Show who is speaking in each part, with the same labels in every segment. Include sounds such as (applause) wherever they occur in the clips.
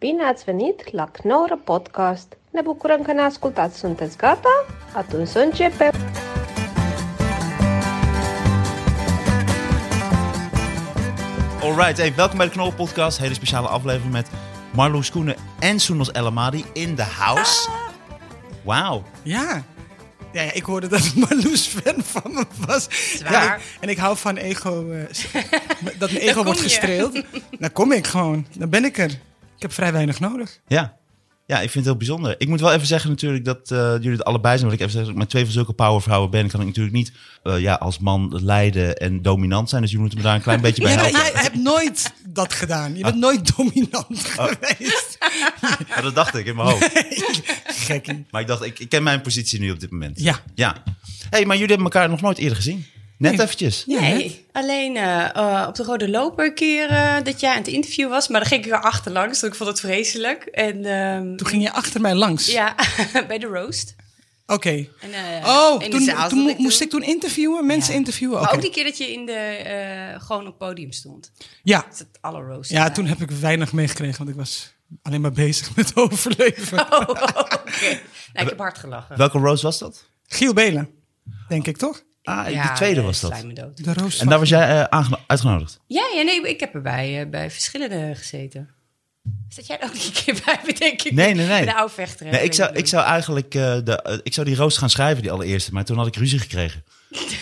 Speaker 1: Bine ați venit la Knorr Podcast! Ne bucurăm că ne ascultați! Sunteți gata? Atunci să începem!
Speaker 2: Alright, hey, welkom bij de Knol Podcast. Hele speciale aflevering met Marloes Koenen en Soenos Elamadi in the house. Wauw.
Speaker 3: Ja. Ja, ja, ik hoorde dat (laughs) Marloes fan van me was. Ja, ik- en ik hou van ego. eh, s-
Speaker 4: (laughs)
Speaker 3: dat mijn ego
Speaker 4: kom
Speaker 3: wordt
Speaker 4: je.
Speaker 3: gestreeld. Dan kom ik gewoon. Dan ben ik er. Ik heb vrij weinig nodig.
Speaker 2: Ja. ja, ik vind het heel bijzonder. Ik moet wel even zeggen natuurlijk dat eh, jullie het allebei zijn. Want ik even zeg, dat ik met twee van zulke powervrouwen ben, kan ik natuurlijk niet eh, ja, als man leiden en dominant zijn. Dus jullie moeten me daar een klein beetje bij
Speaker 3: Jij,
Speaker 2: helpen.
Speaker 3: jij hebt nooit dat gedaan. Je bent nooit dominant geweest.
Speaker 2: Ja, dat dacht ik in mijn hoofd.
Speaker 3: Gekkie.
Speaker 2: Maar ik dacht, ik, ik ken mijn positie nu op dit moment.
Speaker 3: Ja.
Speaker 2: Ja. hey, maar jullie hebben elkaar nog nooit eerder gezien. Net eventjes.
Speaker 3: Ja, hè?
Speaker 4: Nee, alleen eh, eh, op de rode loper een keer eh, dat jij aan het interview was. Maar dan ging ik weer achterlangs, want ik vond het vreselijk. En ehm,
Speaker 3: Toen ging je achter mij langs.
Speaker 4: ja, (laughs) bij de roast.
Speaker 3: Oké.
Speaker 4: En, eh,
Speaker 3: Oh,
Speaker 4: in de
Speaker 3: toen,
Speaker 4: zaal
Speaker 3: toen
Speaker 4: zat
Speaker 3: mo- moest
Speaker 4: toen.
Speaker 3: ik toen interviewen, mensen
Speaker 4: Ja.
Speaker 3: interviewen.
Speaker 4: Maar
Speaker 3: Oké.
Speaker 4: ook die keer dat je in de, eh, gewoon op het podium stond.
Speaker 3: Ja.
Speaker 4: Dat het alle roast.
Speaker 3: ja, toen heb ik weinig meegekregen, want ik was alleen maar bezig met (laughs) overleven.
Speaker 4: (laughs) Oh, oké. Nou, ik heb hard gelachen.
Speaker 2: Welke Rose was dat?
Speaker 3: Giel Belen, denk ik toch?
Speaker 2: (laughs) Ah,
Speaker 4: Ja,
Speaker 2: de tweede
Speaker 4: nee,
Speaker 2: was dat.
Speaker 4: slijm me dood.
Speaker 3: De roos.
Speaker 2: En daar was jij eh, aangeno- uitgenodigd.
Speaker 4: Ja, ja, nee, ik heb erbij bij, bij verschillende gezeten. Zat jij er ook niet een keer bij, (laughs) bedenk ik?
Speaker 2: Nee, nee, nee.
Speaker 4: De oude vechter. hè,
Speaker 2: Nee, ik
Speaker 4: weet
Speaker 2: zou,
Speaker 4: bedoel.
Speaker 2: ik zou eigenlijk eh, de, eh, ik zou die roost gaan schrijven, die allereerste. Maar toen had ik ruzie
Speaker 3: (laughs)
Speaker 2: gekregen.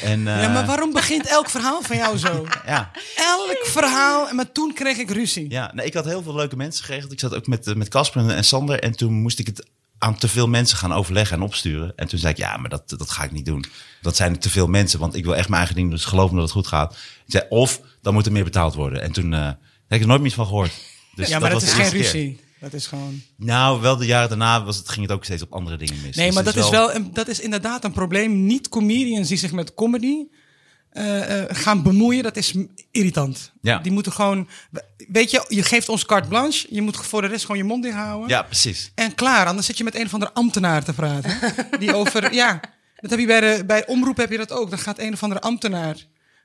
Speaker 2: En, eh,
Speaker 3: Ja, maar waarom begint elk verhaal van jou zo?
Speaker 2: Ja,
Speaker 3: Elk verhaal. Maar toen kreeg ik ruzie.
Speaker 2: ja. Nee, ik had heel veel leuke mensen geregeld. Ik zat ook met eh, met Casper en Sander. En toen moest ik het aan te veel mensen gaan overleggen en opsturen. En toen zei ik, ja, maar dat, dat ga ik niet doen. Dat zijn te veel mensen, want ik wil echt mijn eigen ding doen. Dus geloof me dat het goed gaat. Ik zei, of dan moet er meer betaald worden. En toen eh, heb ik er nooit meer van
Speaker 3: (laughs)
Speaker 2: gehoord. Dus
Speaker 3: ja, maar dat,
Speaker 2: was
Speaker 3: is
Speaker 2: de
Speaker 3: geen
Speaker 2: eerste keer.
Speaker 3: ruzie. Dat is gewoon.
Speaker 2: Nou, wel de jaren daarna was het, ging het ook steeds op andere dingen mis.
Speaker 3: Nee,
Speaker 2: Dus
Speaker 3: maar dat is wel. een- Dat is inderdaad een probleem. Niet comedians die zich met comedy eh, eh, gaan bemoeien. Dat is m- irritant.
Speaker 2: Ja.
Speaker 3: Die moeten gewoon. Weet je, je geeft ons carte blanche. Je moet voor de rest gewoon je mond dicht houden.
Speaker 2: Ja, precies.
Speaker 3: En klaar. Anders zit je met een of andere ambtenaar te praten. die
Speaker 2: (laughs)
Speaker 3: over. Ja. Dat heb je bij, de, bij omroep heb je dat ook. Dan gaat een of andere ambtenaar.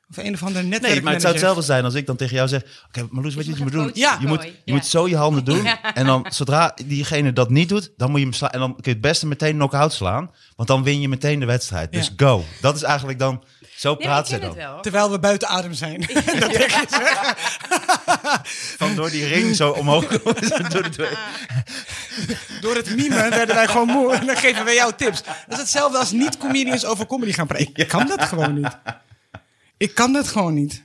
Speaker 3: Of een of andere netwerkmanager.
Speaker 2: Nee, maar het zou hetzelfde zijn als ik dan tegen jou zeg... Oké, maar Marloes, weet je wat je moet doen?
Speaker 4: een coach
Speaker 2: Je moet,
Speaker 4: kooi.
Speaker 2: je
Speaker 4: Ja.
Speaker 2: moet zo je handen doen. En dan, zodra diegene dat niet doet, dan moet je hem slaan. En dan kun je het beste meteen knock-out slaan. Want dan win je meteen de wedstrijd. Dus
Speaker 3: Ja.
Speaker 2: go. Dat is eigenlijk dan... Zo
Speaker 4: Nee, maar ik
Speaker 2: praat
Speaker 4: ken
Speaker 2: ze
Speaker 4: het
Speaker 2: dan.
Speaker 4: wel.
Speaker 3: Terwijl we buiten adem zijn.
Speaker 2: Van door die ring zo
Speaker 4: (laughs)
Speaker 2: omhoog. komen. Door de-
Speaker 3: Door het mimen werden wij gewoon moe. En dan geven wij jou tips. Dat is hetzelfde als niet-comedians over comedy gaan praten. Ik kan dat gewoon niet. Ik kan dat gewoon niet.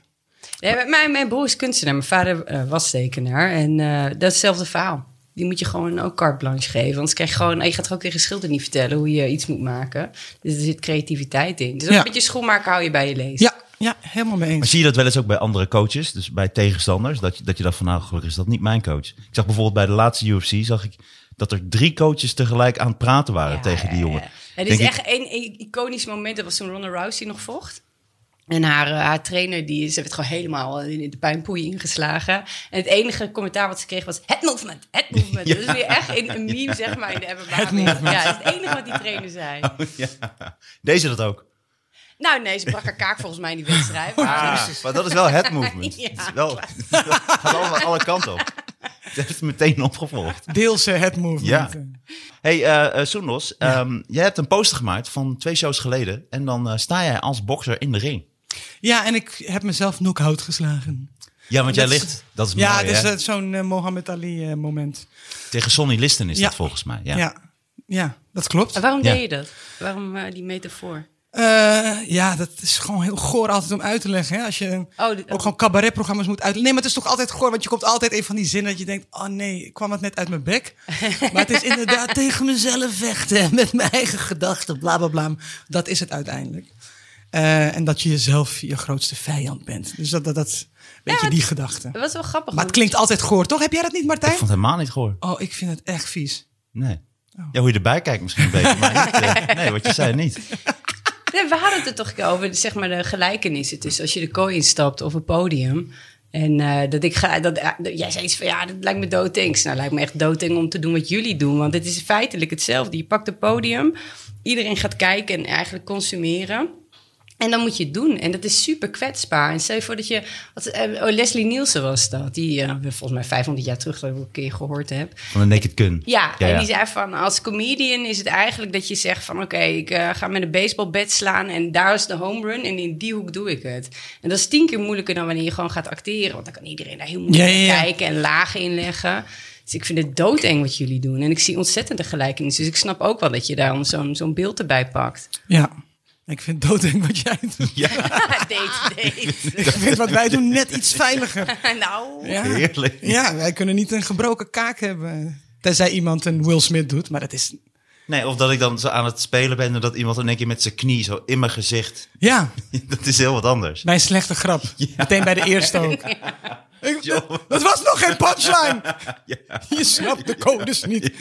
Speaker 4: Nee, maar mijn, mijn broer is kunstenaar, mijn vader eh, was tekenaar. En eh, dat is hetzelfde verhaal. Die moet je gewoon ook carte blanche geven. Anders krijg je gewoon, je gaat er ook tegen schilder niet vertellen hoe je iets moet maken. Dus er zit creativiteit in. Dus ook
Speaker 3: Ja.
Speaker 4: een beetje schoenmaker hou je bij je lezen.
Speaker 3: Ja, ja helemaal mee
Speaker 2: Maar
Speaker 3: eens.
Speaker 2: zie je dat wel eens ook bij andere coaches? Dus bij tegenstanders? Dat je, dat je dacht van, nou, gelukkig is dat niet mijn coach. Ik zag bijvoorbeeld bij de laatste UFC... zag ik dat er drie coaches tegelijk aan het praten waren
Speaker 4: Ja,
Speaker 2: tegen die
Speaker 4: ja,
Speaker 2: jongen.
Speaker 4: ja.
Speaker 2: Denk
Speaker 4: Het is
Speaker 2: ik,
Speaker 4: echt één één iconisch moment. Dat was toen Ronda Rousey nog vocht. En haar, eh, haar trainer, die, ze werd gewoon helemaal eh, in de pijnpoei ingeslagen. En het enige commentaar wat ze kreeg was... Het movement, het movement. Dat is weer echt in, een meme, zeg maar, in de MMA. Ja, dat is het enige wat die trainer zei.
Speaker 2: (laughs) Deze dat ook.
Speaker 4: Nou nee, ze brak haar kaak volgens mij in die wedstrijd. Maar,
Speaker 2: Ah, maar dat is wel het movement.
Speaker 4: (laughs) Ja.
Speaker 2: Het is wel, (laughs) gaat allemaal alle kanten op. Het heeft het meteen opgevolgd.
Speaker 3: Deels eh, het movement.
Speaker 2: Ja. hey, eh eh, Soenos, ehm, jij hebt een poster gemaakt van twee shows geleden. En dan eh, sta jij als bokser in de ring.
Speaker 3: Ja, en ik heb mezelf knock-out geslagen.
Speaker 2: Ja, want jij
Speaker 3: Dat is-
Speaker 2: ligt, dat is
Speaker 3: Ja,
Speaker 2: mooi,
Speaker 3: dus
Speaker 2: hè?
Speaker 3: dat is zo'n eh, Mohammed Ali eh, moment.
Speaker 2: Tegen Sonny Liston is
Speaker 3: Ja.
Speaker 2: dat volgens mij. Ja.
Speaker 3: Ja. Ja. dat klopt.
Speaker 4: En waarom
Speaker 2: Ja.
Speaker 4: deed je dat? Waarom eh, die metafoor?
Speaker 3: Eh, ja, dat is gewoon heel goor altijd om uit te leggen. Hè? Als je
Speaker 4: Oh, dit-
Speaker 3: ook gewoon cabaretprogramma's moet uitleggen. Nee, maar het is toch altijd goor, want je komt altijd in van die zinnen dat je denkt... oh nee, ik kwam het net uit mijn bek. maar het is inderdaad tegen mezelf vechten met mijn eigen gedachten, bla bla bla. Dat is het uiteindelijk. Eh, en dat je jezelf je grootste vijand bent. Dus dat, dat, dat een beetje die gedachte.
Speaker 4: Dat was wel grappig.
Speaker 3: Maar het klinkt altijd goor, toch? Heb jij dat niet,
Speaker 2: Ik
Speaker 3: Martijn?
Speaker 2: vond het helemaal niet goor.
Speaker 3: Oh, ik vind het echt vies.
Speaker 2: Nee. Ja, hoe je erbij kijkt misschien een beetje, maar niet, (laughs) eh, nee, wat je zei niet.
Speaker 4: Nee, we hadden het er toch een keer over, zeg maar, de gelijkenissen tussen als je de kooi instapt of een podium. En eh, dat ik ga, dat, eh, dat- jij zei iets van ja, dat lijkt me doodtings. Nou, lijkt me echt doodeng om te doen wat jullie doen, want het is feitelijk hetzelfde. Je pakt het podium, iedereen gaat kijken en eigenlijk consumeren. En dan moet je het doen. En dat is super kwetsbaar. En stel je voor dat je... Wat, eh, oh, Leslie Nielsen was dat. Die eh, volgens mij 500 jaar terug dat ik een keer gehoord heb.
Speaker 2: Van een naked kun.
Speaker 4: Ja, en die zei van als comedian is het eigenlijk dat je zegt van oké, ik eh, ga met een baseballbat slaan en daar is de home run en in die hoek doe ik het. En dat is tien keer moeilijker dan wanneer je gewoon gaat acteren, want dan kan iedereen daar heel moeilijk
Speaker 3: Ja, ja, ja.
Speaker 4: naar kijken en lagen inleggen. Dus ik vind het doodeng wat jullie doen. En ik zie ontzettende gelijkenis. Dus ik snap ook wel dat je daar zo'n zo'n beeld erbij
Speaker 3: (laughs)
Speaker 4: pakt. (laughs)
Speaker 3: Ja. Ik vind doodeng wat jij doet.
Speaker 2: (laughs)
Speaker 4: date, date.
Speaker 3: (laughs) Ik vind wat wij doen net iets veiliger.
Speaker 4: nou,
Speaker 3: Ja.
Speaker 2: Heerlijk.
Speaker 3: ja, wij kunnen niet een gebroken kaak hebben. Tenzij iemand een Will Smith doet, maar dat is...
Speaker 2: Nee, of dat ik dan zo aan het spelen ben en dat iemand in één keer met zijn knie zo in mijn gezicht. (laughs)
Speaker 3: Ja,
Speaker 2: Dat is heel wat anders.
Speaker 3: bij een slechte grap. Meteen bij de eerste ook. Ik-
Speaker 2: Joh.
Speaker 3: dat was nog geen
Speaker 2: (laughs)
Speaker 3: punchline! Je snapt de codes niet.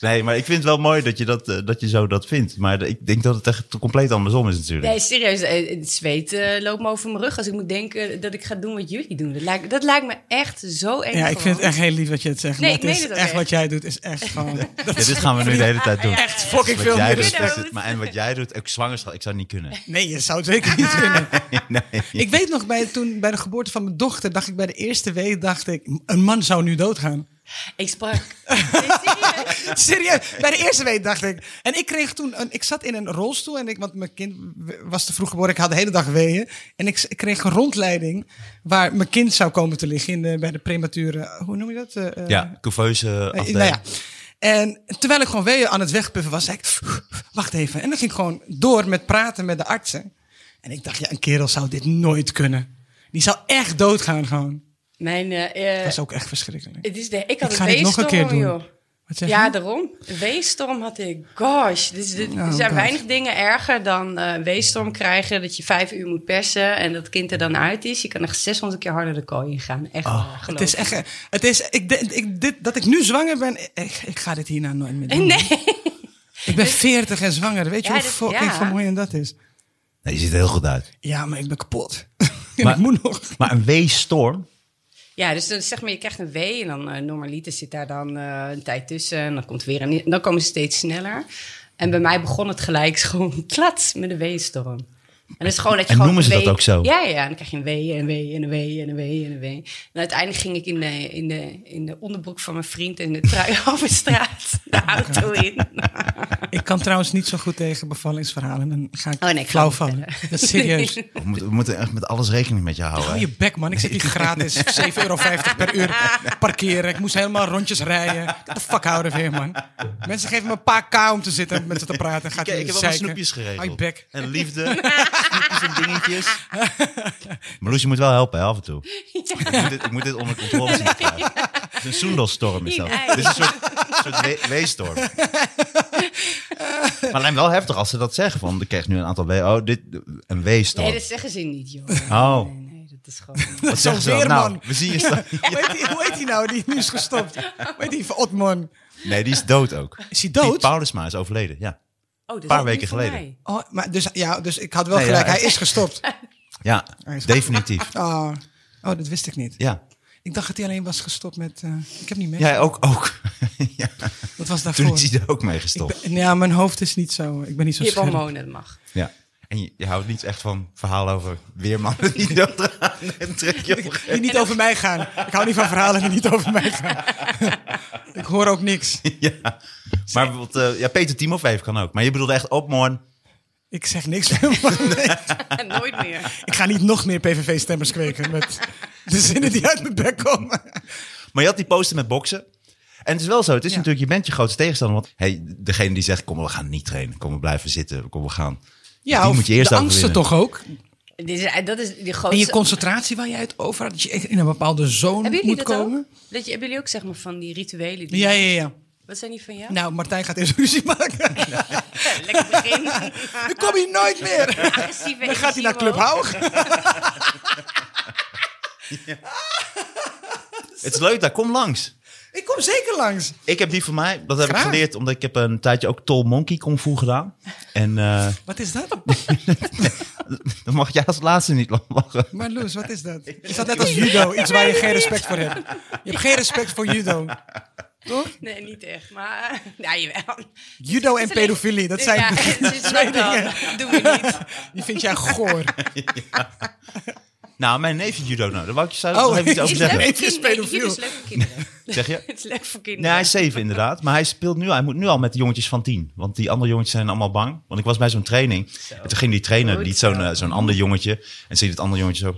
Speaker 2: Nee, maar ik vind het wel mooi dat je, dat, eh, dat je zo dat vindt. Maar ik denk dat het echt compleet andersom is natuurlijk.
Speaker 4: Nee, serieus. eh, Het zweet eh, loopt me over mijn rug als ik moet denken dat ik ga doen wat jullie doen. Dat lijkt, dat lijkt me echt zo eng.
Speaker 3: Ja, ik vind het
Speaker 4: gewoon.
Speaker 3: echt heel lief wat je het zegt.
Speaker 4: Nee,
Speaker 3: maar
Speaker 4: ik
Speaker 3: het
Speaker 4: meen
Speaker 3: is
Speaker 4: het ook
Speaker 3: echt,
Speaker 4: echt.
Speaker 3: wat jij doet is
Speaker 2: (laughs)
Speaker 3: echt gewoon...
Speaker 2: Ja, dit gaan we nu de hele tijd doen.
Speaker 3: Echt fucking
Speaker 2: Wat
Speaker 3: veel
Speaker 2: jij dus
Speaker 3: meer
Speaker 2: doet,
Speaker 4: respect.
Speaker 2: is het. Maar en wat jij doet, ook zwangerschap, ik zou het niet kunnen.
Speaker 3: Nee, je zou het zeker niet kunnen.
Speaker 2: (laughs)
Speaker 3: Ik weet nog, bij, toen, bij de geboorte van mijn dochter, dacht ik bij de eerste week, dacht ik, een man zou nu doodgaan.
Speaker 4: Ik sprak. Nee, serieus.
Speaker 3: (laughs) Serieus, bij de eerste week dacht ik. En ik kreeg toen, een, ik zat in een rolstoel en ik, want mijn kind was te vroeg geboren, ik had de hele dag weeën. En ik, ik kreeg een rondleiding waar mijn kind zou komen te liggen in de, bij de premature, hoe noem je dat? Eh, eh,
Speaker 2: Ja, couveuse
Speaker 3: eh,
Speaker 2: afdeling.
Speaker 3: nou ja. En terwijl ik gewoon weeën aan het wegpuffen was, zei ik, wacht even. En dan ging ik gewoon door met praten met de artsen. En ik dacht, ja, een kerel zou dit nooit kunnen. Die zou echt doodgaan gewoon.
Speaker 4: Mijn, eh, eh,
Speaker 3: Dat is ook echt verschrikkelijk.
Speaker 4: het is de, ik
Speaker 3: Ik
Speaker 4: had
Speaker 3: ga
Speaker 4: een
Speaker 3: dit nog een keer
Speaker 4: weestorm,
Speaker 3: doen.
Speaker 4: joh.
Speaker 3: Wat zeg
Speaker 4: Ja,
Speaker 3: je?
Speaker 4: daarom. Een weestorm had ik. Gosh, dus dit-
Speaker 3: Oh,
Speaker 4: er zijn
Speaker 3: God.
Speaker 4: weinig dingen erger dan eh, een weestorm krijgen. Dat je vijf uur moet persen en dat kind er dan uit is. Je kan nog 600 keer harder de kooi ingaan. Echt, waar, geloof
Speaker 3: Het is
Speaker 4: me.
Speaker 3: echt, eh, het is, ik, de- ik, dit, dat ik nu zwanger ben, ik, ik ga dit hierna nooit meer doen.
Speaker 4: Nee.
Speaker 3: Ik
Speaker 4: (laughs)
Speaker 3: ben veertig en zwanger, weet je
Speaker 4: Ja,
Speaker 3: hoe
Speaker 4: dat-
Speaker 3: fucking
Speaker 4: ja.
Speaker 3: vermoeiend dat is?
Speaker 2: Nee, je ziet er heel goed uit.
Speaker 3: Ja, maar ik ben kapot. (laughs) en
Speaker 2: Maar-
Speaker 3: ik moet nog.
Speaker 2: Maar een weesstorm,
Speaker 4: Ja, dus dan zeg maar, je krijgt een W en dan eh, normaliter zit daar dan eh, een tijd tussen. En dan komt weer een, dan komen ze steeds sneller. En bij mij begon het gelijk (laughs) gewoon klats met een W-storm. En, dat is gewoon dat je
Speaker 2: En
Speaker 4: gewoon
Speaker 2: noemen ze
Speaker 4: een
Speaker 2: dat
Speaker 4: W-
Speaker 2: ook zo?
Speaker 4: Ja, ja, dan krijg je een W en een W en een W en een W en een W. En uiteindelijk ging ik in de, in de, in de onderbroek van mijn vriend en de trui (laughs) over straat de auto in. (laughs)
Speaker 3: Ik kan trouwens niet zo goed tegen bevallingsverhalen. Dan ga ik
Speaker 4: Oh, nee, ik ga
Speaker 3: flauw
Speaker 4: niet
Speaker 3: vallen. Dat is serieus.
Speaker 4: (laughs) Nee.
Speaker 2: we moeten, we moeten echt met alles rekening met je houden.
Speaker 3: Hou
Speaker 2: hè?
Speaker 3: je bek, man. Ik zit hier gratis.
Speaker 2: (laughs)
Speaker 3: 7,50 euro per uur parkeren. Ik moest helemaal rondjes rijden. Get the fuck out of here, man. Mensen geven me een paar k om te zitten en met ze te praten. Gaat
Speaker 2: Kijk, ik
Speaker 3: hier
Speaker 2: heb allemaal
Speaker 3: zeiken.
Speaker 2: snoepjes
Speaker 3: Hou je
Speaker 2: geregeld.
Speaker 3: bek.
Speaker 2: En liefde, snoepjes en dingetjes. Maar Loes, je moet wel helpen hè, af en toe. Ik, moet dit, ik moet dit onder controle
Speaker 4: (laughs)
Speaker 2: zien te krijgen. Het is een soendelstorm is dat.
Speaker 4: Nee.
Speaker 2: Het is een soort, soort we- weestorm. Maar het lijkt me wel heftig als ze dat zeggen. Van, ik krijg nu een aantal we Oh, dit, een weestorm.
Speaker 4: Nee, dat zeggen ze niet, joh.
Speaker 2: Oh.
Speaker 4: Nee, nee, dat is gewoon...
Speaker 2: Wat zeggen ze dan?
Speaker 3: Zo'n
Speaker 2: Nou,
Speaker 3: weerman.
Speaker 2: we zien je staan.
Speaker 4: (laughs)
Speaker 3: (laughs) Hoe heet die- Hoe heet die nou? Die nu is gestopt. Hoe heet die van Otman?
Speaker 2: Nee, die is dood ook.
Speaker 3: Is hij
Speaker 2: Piet
Speaker 3: dood?
Speaker 2: Paulusma is overleden, ja.
Speaker 4: Oh, dat is
Speaker 2: Paar
Speaker 4: niet
Speaker 2: weken
Speaker 4: voor
Speaker 2: geleden.
Speaker 4: mij.
Speaker 3: Oh, maar dus, ja, dus ik had wel
Speaker 2: Nee,
Speaker 3: gelijk.
Speaker 2: ja,
Speaker 3: hij
Speaker 2: het-
Speaker 3: is
Speaker 2: (laughs)
Speaker 3: gestopt.
Speaker 2: Ja,
Speaker 3: Hij is-
Speaker 2: definitief.
Speaker 3: Oh, oh, dat wist ik niet.
Speaker 2: Ja,
Speaker 3: Ik dacht dat hij alleen was gestopt met... eh, ik heb niet mee.
Speaker 2: ja ook. ook. (laughs) ja.
Speaker 3: Wat was
Speaker 2: Toen
Speaker 3: daarvoor?
Speaker 2: is hij er ook mee
Speaker 3: Ik
Speaker 2: gestopt.
Speaker 3: ben- ja, mijn hoofd is niet zo... Ik ben niet zo
Speaker 2: Dus-
Speaker 4: Je
Speaker 3: scherp.
Speaker 4: hebt hormonen, dat mag. (laughs)
Speaker 2: Ja. En je, je houdt niet echt van verhalen over weermannen
Speaker 3: (laughs)
Speaker 2: die doodgaan. En trek je op een gegeven
Speaker 3: Die niet over mij gaan. Ik hou niet van verhalen die niet over mij gaan.
Speaker 4: (laughs)
Speaker 3: ik hoor ook niks.
Speaker 2: moment- Ja. Maar bijvoorbeeld, eh, ja, Peter Timofeev kan ook. Maar je bedoelde echt Opmorn.
Speaker 3: Ik zeg niks meer.
Speaker 2: (laughs)
Speaker 3: man.
Speaker 4: Nooit meer.
Speaker 3: Ik ga niet nog meer PVV-stemmers kweken met de zinnen die uit mijn bek komen.
Speaker 2: Maar je had die poster met boksen. En het is wel zo, het is
Speaker 3: Ja.
Speaker 2: natuurlijk, je bent je grootste tegenstander. Want hey, degene die zegt, kom we gaan niet trainen. Kom we blijven zitten, kom we gaan.
Speaker 3: Ja,
Speaker 2: die
Speaker 3: of
Speaker 2: moet je eerst
Speaker 3: de angsten
Speaker 2: overwinnen.
Speaker 3: toch ook.
Speaker 4: Dit is, dat is die
Speaker 3: En
Speaker 4: grootste...
Speaker 3: je concentratie waar je het over had. Dat je echt in een bepaalde zone
Speaker 4: Hebben jullie
Speaker 3: moet
Speaker 4: dat
Speaker 3: komen.
Speaker 4: ook? Dat je, hebben jullie ook zeg maar van die rituelen? Die,
Speaker 3: Ja, ja, ja.
Speaker 4: Wat zijn die van jou?
Speaker 3: Nou, Martijn gaat eerst ruzie maken.
Speaker 4: (laughs) Lekker begin.
Speaker 3: Dan kom je nooit meer.
Speaker 4: (laughs) Agressieve
Speaker 3: Dan gaat hij naar Club
Speaker 4: houden.
Speaker 3: Haug.
Speaker 2: Het is leuk daar, kom langs.
Speaker 3: Ik kom zeker langs.
Speaker 2: Ik heb die van mij, dat heb
Speaker 3: Graag.
Speaker 2: ik geleerd, omdat ik heb een tijdje ook Tol Monkey Kung Fu gedaan. En eh, (laughs)
Speaker 3: Wat is dat?
Speaker 2: dan mag jij als laatste niet (laughs) lachen.
Speaker 3: Maar Loes, wat is dat? Is dat net als judo? Iets waar je geen respect voor hebt. Je hebt geen respect voor judo. Toch?
Speaker 4: Nee, niet echt. Maar, (laughs) nou, jawel.
Speaker 3: Judo Oh, en
Speaker 4: Het is alleen-
Speaker 3: pedofilie, dat zijn
Speaker 4: Ja, het is
Speaker 3: twee
Speaker 4: dat dan.
Speaker 3: dingen.
Speaker 4: Doen we niet.
Speaker 3: (laughs) Die vind jij goor.
Speaker 2: Nou, mijn neefje judo nou. Daar wou ik je zou
Speaker 3: Oh,
Speaker 2: nog even iets
Speaker 3: (laughs)
Speaker 2: over
Speaker 4: Het is leuk
Speaker 2: zeggen.
Speaker 3: Nee, het is
Speaker 4: voor kinderen.
Speaker 3: pedofiel. Nou,
Speaker 4: Judo is leuk voor kinderen.
Speaker 2: Zeg je?
Speaker 4: (laughs) Het is leuk voor
Speaker 2: Nee,
Speaker 4: kinderen.
Speaker 2: hij is zeven inderdaad. Maar hij speelt nu, hij moet nu al met de jongetjes van tien. Want die andere jongetjes zijn allemaal bang. Want ik was bij zo'n training. En toen ging die trainer, die
Speaker 4: Goed
Speaker 2: liet zo'n
Speaker 4: zo.
Speaker 2: eh, zo'n ander jongetje. En zie je dat andere jongetje zo.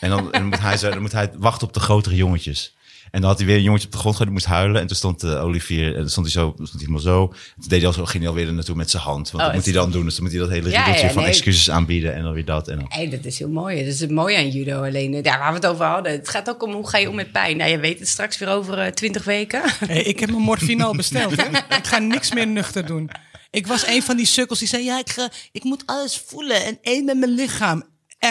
Speaker 2: en dan, en dan moet hij, zo, dan moet hij wachten op de grotere jongetjes. En dan had hij weer een jongetje op de grond gegooid, die moest huilen. En toen stond eh, Olivier, en toen stond hij zo, stond hij helemaal zo. En toen deed hij al zo, ging hij alweer er naartoe met zijn hand. Want dat
Speaker 4: het
Speaker 2: moet hij dan doen. Dus dan moet hij dat hele
Speaker 4: Oh, Ja,
Speaker 2: riedeltje
Speaker 4: ja,
Speaker 2: van
Speaker 4: nee.
Speaker 2: excuses aanbieden en dan weer dat. En dan.
Speaker 4: Hey, dat is heel mooi. Dat is het mooie aan judo. Alleen eh, daar waar we het over hadden. Het gaat ook om hoe ga je om met pijn. Nou, je weet het straks weer over eh, twintig weken.
Speaker 3: Hey, ik heb mijn morfine al besteld. hè. Ik ga niks meer nuchter doen. Ik was een van die sukkels die zei: Ja, ik, ga- ik moet alles voelen en één met mijn lichaam.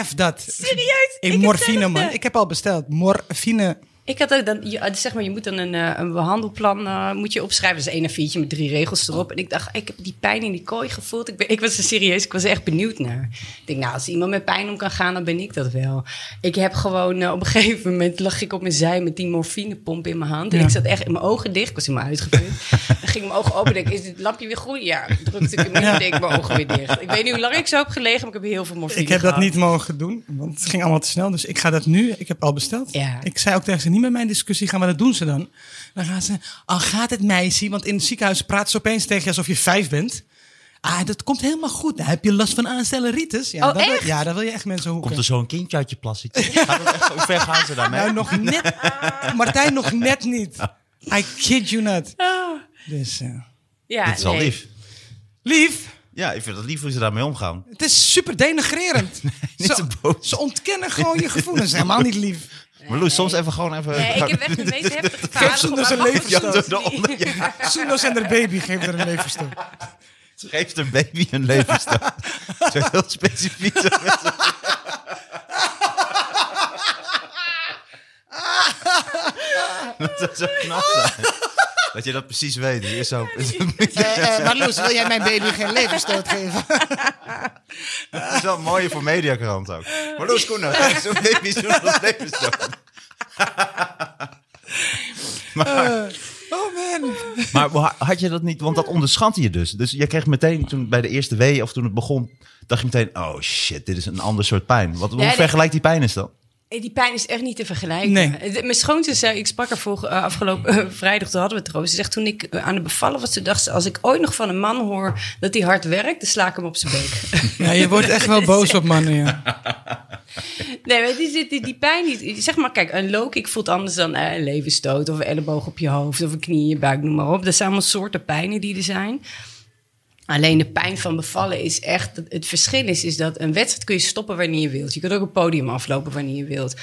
Speaker 3: F dat.
Speaker 4: Serieus?
Speaker 3: Ik,
Speaker 4: heb
Speaker 3: morfine,
Speaker 4: zelfde.
Speaker 3: man. Ik heb al besteld. Morfine.
Speaker 4: Ik had ook dan, je, zeg maar, je moet dan een, eh, een behandelplan eh, moet je opschrijven. Dat is één A4'tje met drie regels erop. En ik dacht, ik heb die pijn in die kooi gevoeld. Ik, ben, ik was er serieus, ik was er echt benieuwd naar. Ik denk, nou, als iemand met pijn om kan gaan, dan ben ik dat wel. Ik heb gewoon, eh, op een (laughs) gegeven moment lag ik op mijn zij met die morfinepomp in mijn hand. En
Speaker 3: Ja.
Speaker 4: ik zat echt in mijn ogen dicht. Ik was helemaal
Speaker 3: (laughs)
Speaker 4: uitgeput. dan ging mijn ogen open. Denk, is dit lampje weer goed? Ja, drukte ik hem in en deed ik mijn ogen weer dicht. Ik weet niet hoe lang ik zo heb gelegen, maar ik heb heel veel morfine
Speaker 3: Ik heb dat
Speaker 4: gehad.
Speaker 3: niet mogen doen, want het ging allemaal te snel. Dus ik ga dat nu, ik heb al besteld.
Speaker 4: Ja.
Speaker 3: Ik zei ook tegen ze, niet met mijn discussie gaan, maar dat doen ze dan. Dan gaan ze, al gaat het meisje, want in het ziekenhuis praten ze opeens tegen je alsof je vijf bent. Ah, dat komt helemaal goed. Nou, heb je last van aanstelleritis? Ja,
Speaker 4: Oh,
Speaker 3: dat, wil-
Speaker 4: echt?
Speaker 3: ja, daar wil je echt mensen hoeken.
Speaker 2: Komt er zo'n kindje uit je plas
Speaker 4: (laughs)
Speaker 2: zitten? Gaat dat echt zo- Hoe ver gaan ze daarmee?
Speaker 3: Nou,
Speaker 2: (laughs)
Speaker 3: nog net. Martijn, nog net niet. I kid you not.
Speaker 2: Ah.
Speaker 3: Dus, eh,
Speaker 4: Ja,
Speaker 2: dat is al
Speaker 4: nee.
Speaker 2: lief.
Speaker 3: lief,
Speaker 2: Ja, ik vind het lief hoe ze daarmee omgaan.
Speaker 3: het is super
Speaker 2: (laughs)
Speaker 3: denigrerend.
Speaker 2: niet
Speaker 3: ze,
Speaker 2: te boos.
Speaker 3: ze ontkennen gewoon je
Speaker 2: (laughs)
Speaker 3: gevoelens. Helemaal niet lief.
Speaker 2: Maar Loes, soms even gewoon even...
Speaker 4: Nee, ik heb
Speaker 2: (laughs)
Speaker 4: echt een meest heftige
Speaker 3: Geef
Speaker 4: vader.
Speaker 3: ze dus een levensstoot.
Speaker 2: eronder.
Speaker 4: (laughs)
Speaker 2: Ja,
Speaker 3: Soenos en haar baby geeft er een leverstoot.
Speaker 2: ze geeft een baby een
Speaker 4: (laughs)
Speaker 2: levensstijl. Zo heel specifiek. zo met z'n- Dat zou zo knap zijn. Dat je dat precies weet. Je is zo, het
Speaker 3: maar Loes, Eh, wil jij mijn baby geen leverstoot geven?
Speaker 2: is wel mooi voor Mediakrant ook. Maar Loes (laughs) Koenen, geef zo'n baby zo'n (laughs) levensstijl.
Speaker 3: Oh man.
Speaker 2: Maar wa- had je dat niet, want dat onderschatte je dus. Dus je kreeg meteen toen bij de eerste wee of toen het begon, dacht je meteen: oh shit, dit is een ander soort pijn. Wat, hoe
Speaker 4: Nee, dat-
Speaker 2: vergelijkt die pijn is dan?
Speaker 4: Eh, Die pijn is echt niet te vergelijken. Eh,
Speaker 3: Nee.
Speaker 4: De- Mijn schoonzus zei, ik sprak haar voor, eh, afgelopen eh, vrijdag, toen hadden we het erover. Ze zegt, toen ik eh, aan het bevallen was, toen dacht ze... als ik ooit nog van een man hoor dat hij hard werkt, dan sla ik hem op zijn beek.
Speaker 3: Ja, je wordt echt wel boos op mannen, ja.
Speaker 4: nee, maar die, die, die, die pijn, die, zeg maar, kijk, een low kick voelt anders dan eh, een levensstoot... of een elleboog op je hoofd, of een knie in je buik, noem maar op. Dat zijn allemaal soorten pijnen die er zijn. Alleen de pijn van bevallen is echt. Het verschil is, is dat een wedstrijd kun je stoppen wanneer je wilt. Je kunt ook een podium aflopen wanneer je wilt.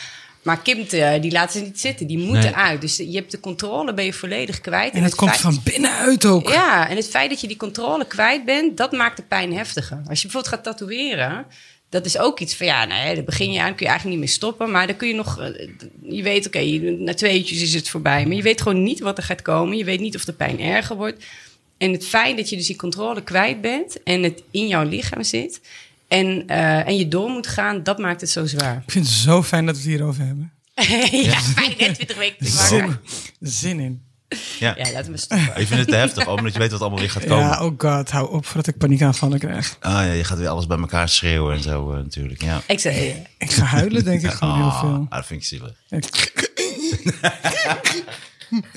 Speaker 4: Maar Kim, eh, die laten ze niet zitten. Die moeten
Speaker 2: Nee.
Speaker 4: uit. Dus je hebt de controle ben je volledig kwijt.
Speaker 3: En het komt
Speaker 4: feit-
Speaker 3: van binnenuit ook.
Speaker 4: Ja, en het feit dat je die controle kwijt bent, dat maakt de pijn heftiger. Als je bijvoorbeeld gaat tatoeëren, dat is ook iets van ja, nee, daar begin je aan, kun je eigenlijk niet meer stoppen. Maar dan kun je nog, eh, je weet, oké, je- na tweetjes is het voorbij. Maar je weet gewoon niet wat er gaat komen. Je weet niet of de pijn erger wordt. En het feit dat je dus die controle kwijt bent en het in jouw lichaam zit en, eh, en je door moet gaan, dat maakt het zo zwaar.
Speaker 3: Ik vind het zo fijn dat we het hierover hebben.
Speaker 4: (laughs) ja, 25 weken te maken.
Speaker 3: Zin, zin in.
Speaker 2: Ja.
Speaker 4: Ja, laten we stoppen.
Speaker 2: Ik vind het te heftig, omdat je weet wat allemaal weer gaat komen.
Speaker 3: Ja, oh god, hou op voordat ik paniekaanvallen krijg.
Speaker 2: Ah, ja, je gaat weer alles bij elkaar schreeuwen en zo eh, natuurlijk. Ja.
Speaker 4: Ik eh, zei,
Speaker 3: Ik ga huilen, denk ik, gewoon heel
Speaker 2: Ah,
Speaker 3: veel.
Speaker 2: ah, dat vind ik zielig.
Speaker 3: Ik-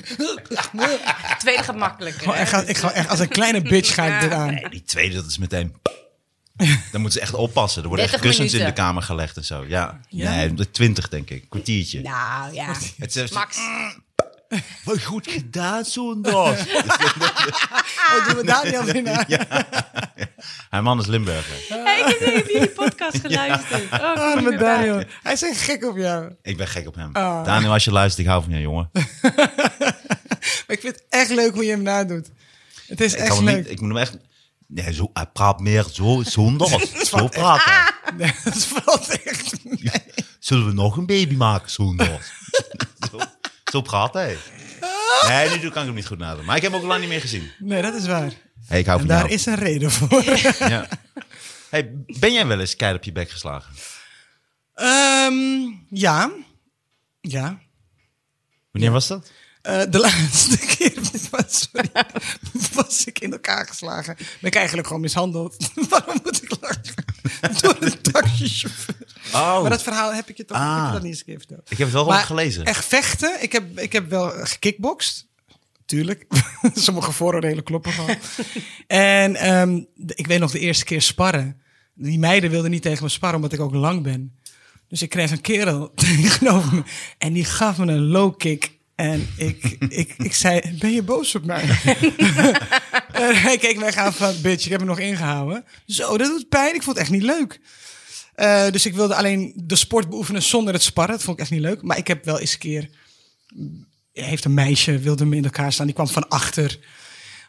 Speaker 4: eh, tweede gaat makkelijker.
Speaker 3: gewoon
Speaker 4: hè?
Speaker 3: Oh, echt- ik ga echt als een kleine bitch ga ik dit aan.
Speaker 2: Nee, die tweede, dat is meteen. Dan moeten ze echt oppassen. Er worden echt
Speaker 4: 30
Speaker 2: kussens in de
Speaker 4: minuten.
Speaker 2: kamer gelegd en zo. Ja, nee, twintig denk ik. Kwartiertje.
Speaker 4: Nou ja,
Speaker 2: Het is
Speaker 4: Max.
Speaker 3: Ah.
Speaker 2: Wat goed gedaan, zondag.
Speaker 3: Oh, doen we (laughs) Daniel weer na?
Speaker 2: (laughs) Haar man is Limburger.
Speaker 4: Hey, ik heb even jullie
Speaker 3: (laughs)
Speaker 4: podcast geluisterd. Oh, ik kom niet
Speaker 3: Arme
Speaker 4: meer bij.
Speaker 3: Ah, Daniel. Hij is echt gek op jou.
Speaker 2: Ik ben gek op hem.
Speaker 3: Ah.
Speaker 2: Daniel, als je luistert, ik hou van jou, jongen.
Speaker 3: (laughs) Maar ik vind het echt leuk hoe je hem nadoet. Het is
Speaker 2: Ik, kan
Speaker 3: echt
Speaker 2: hem
Speaker 3: leuk.
Speaker 2: niet, ik moet hem echt... Nee, zo, hij praat meer zo zondag. Zo praat hij.
Speaker 3: (laughs) Nee, dat valt echt mee.
Speaker 2: Zullen we nog een baby maken zondag? (laughs) zo, zo praat hij. Nee, nu kan ik hem niet goed nadoen. Maar ik heb hem ook lang niet meer gezien.
Speaker 3: Nee, dat is waar.
Speaker 2: Hey, ik hou
Speaker 3: En
Speaker 2: van
Speaker 3: daar
Speaker 2: jou.
Speaker 3: is een reden voor.
Speaker 2: Ja. Hey, ben jij wel eens keihard op je bek geslagen?
Speaker 3: Ehm, ja. Ja.
Speaker 2: Wanneer was dat?
Speaker 3: Eh, de (laughs) laatste keer was, sorry, (laughs) was ik in elkaar geslagen. Ben ik eigenlijk gewoon mishandeld. (laughs) Waarom moet ik lachen? Door een taxichauffeur.
Speaker 2: Oh.
Speaker 3: Maar dat verhaal heb ik je toch heb ik
Speaker 2: Ah.
Speaker 3: je dat niet eens een keer verteld.
Speaker 2: Ik heb het wel
Speaker 3: Maar
Speaker 2: gewoon gelezen.
Speaker 3: Echt vechten. Ik heb, ik heb wel gekickboxed. Tuurlijk. (laughs) Sommige vooroordelen kloppen gewoon. en ehm, de- ik weet nog de eerste keer sparren. Die meiden wilden niet tegen me sparren, omdat ik ook lang ben. Dus ik kreeg een kerel (laughs) tegenover me. En die gaf me een low kick. En ik, ik, ik zei, ben je boos op mij? (laughs) en hij keek mij aan van, bitch, ik heb me nog ingehouden. Zo, dat doet pijn. Ik vond het echt niet leuk. Eh, dus ik wilde alleen de sport beoefenen zonder het sparren. Dat vond ik echt niet leuk. Maar ik heb wel eens een keer... eh, Heeft een meisje, wilde me in elkaar staan. Die kwam van achter.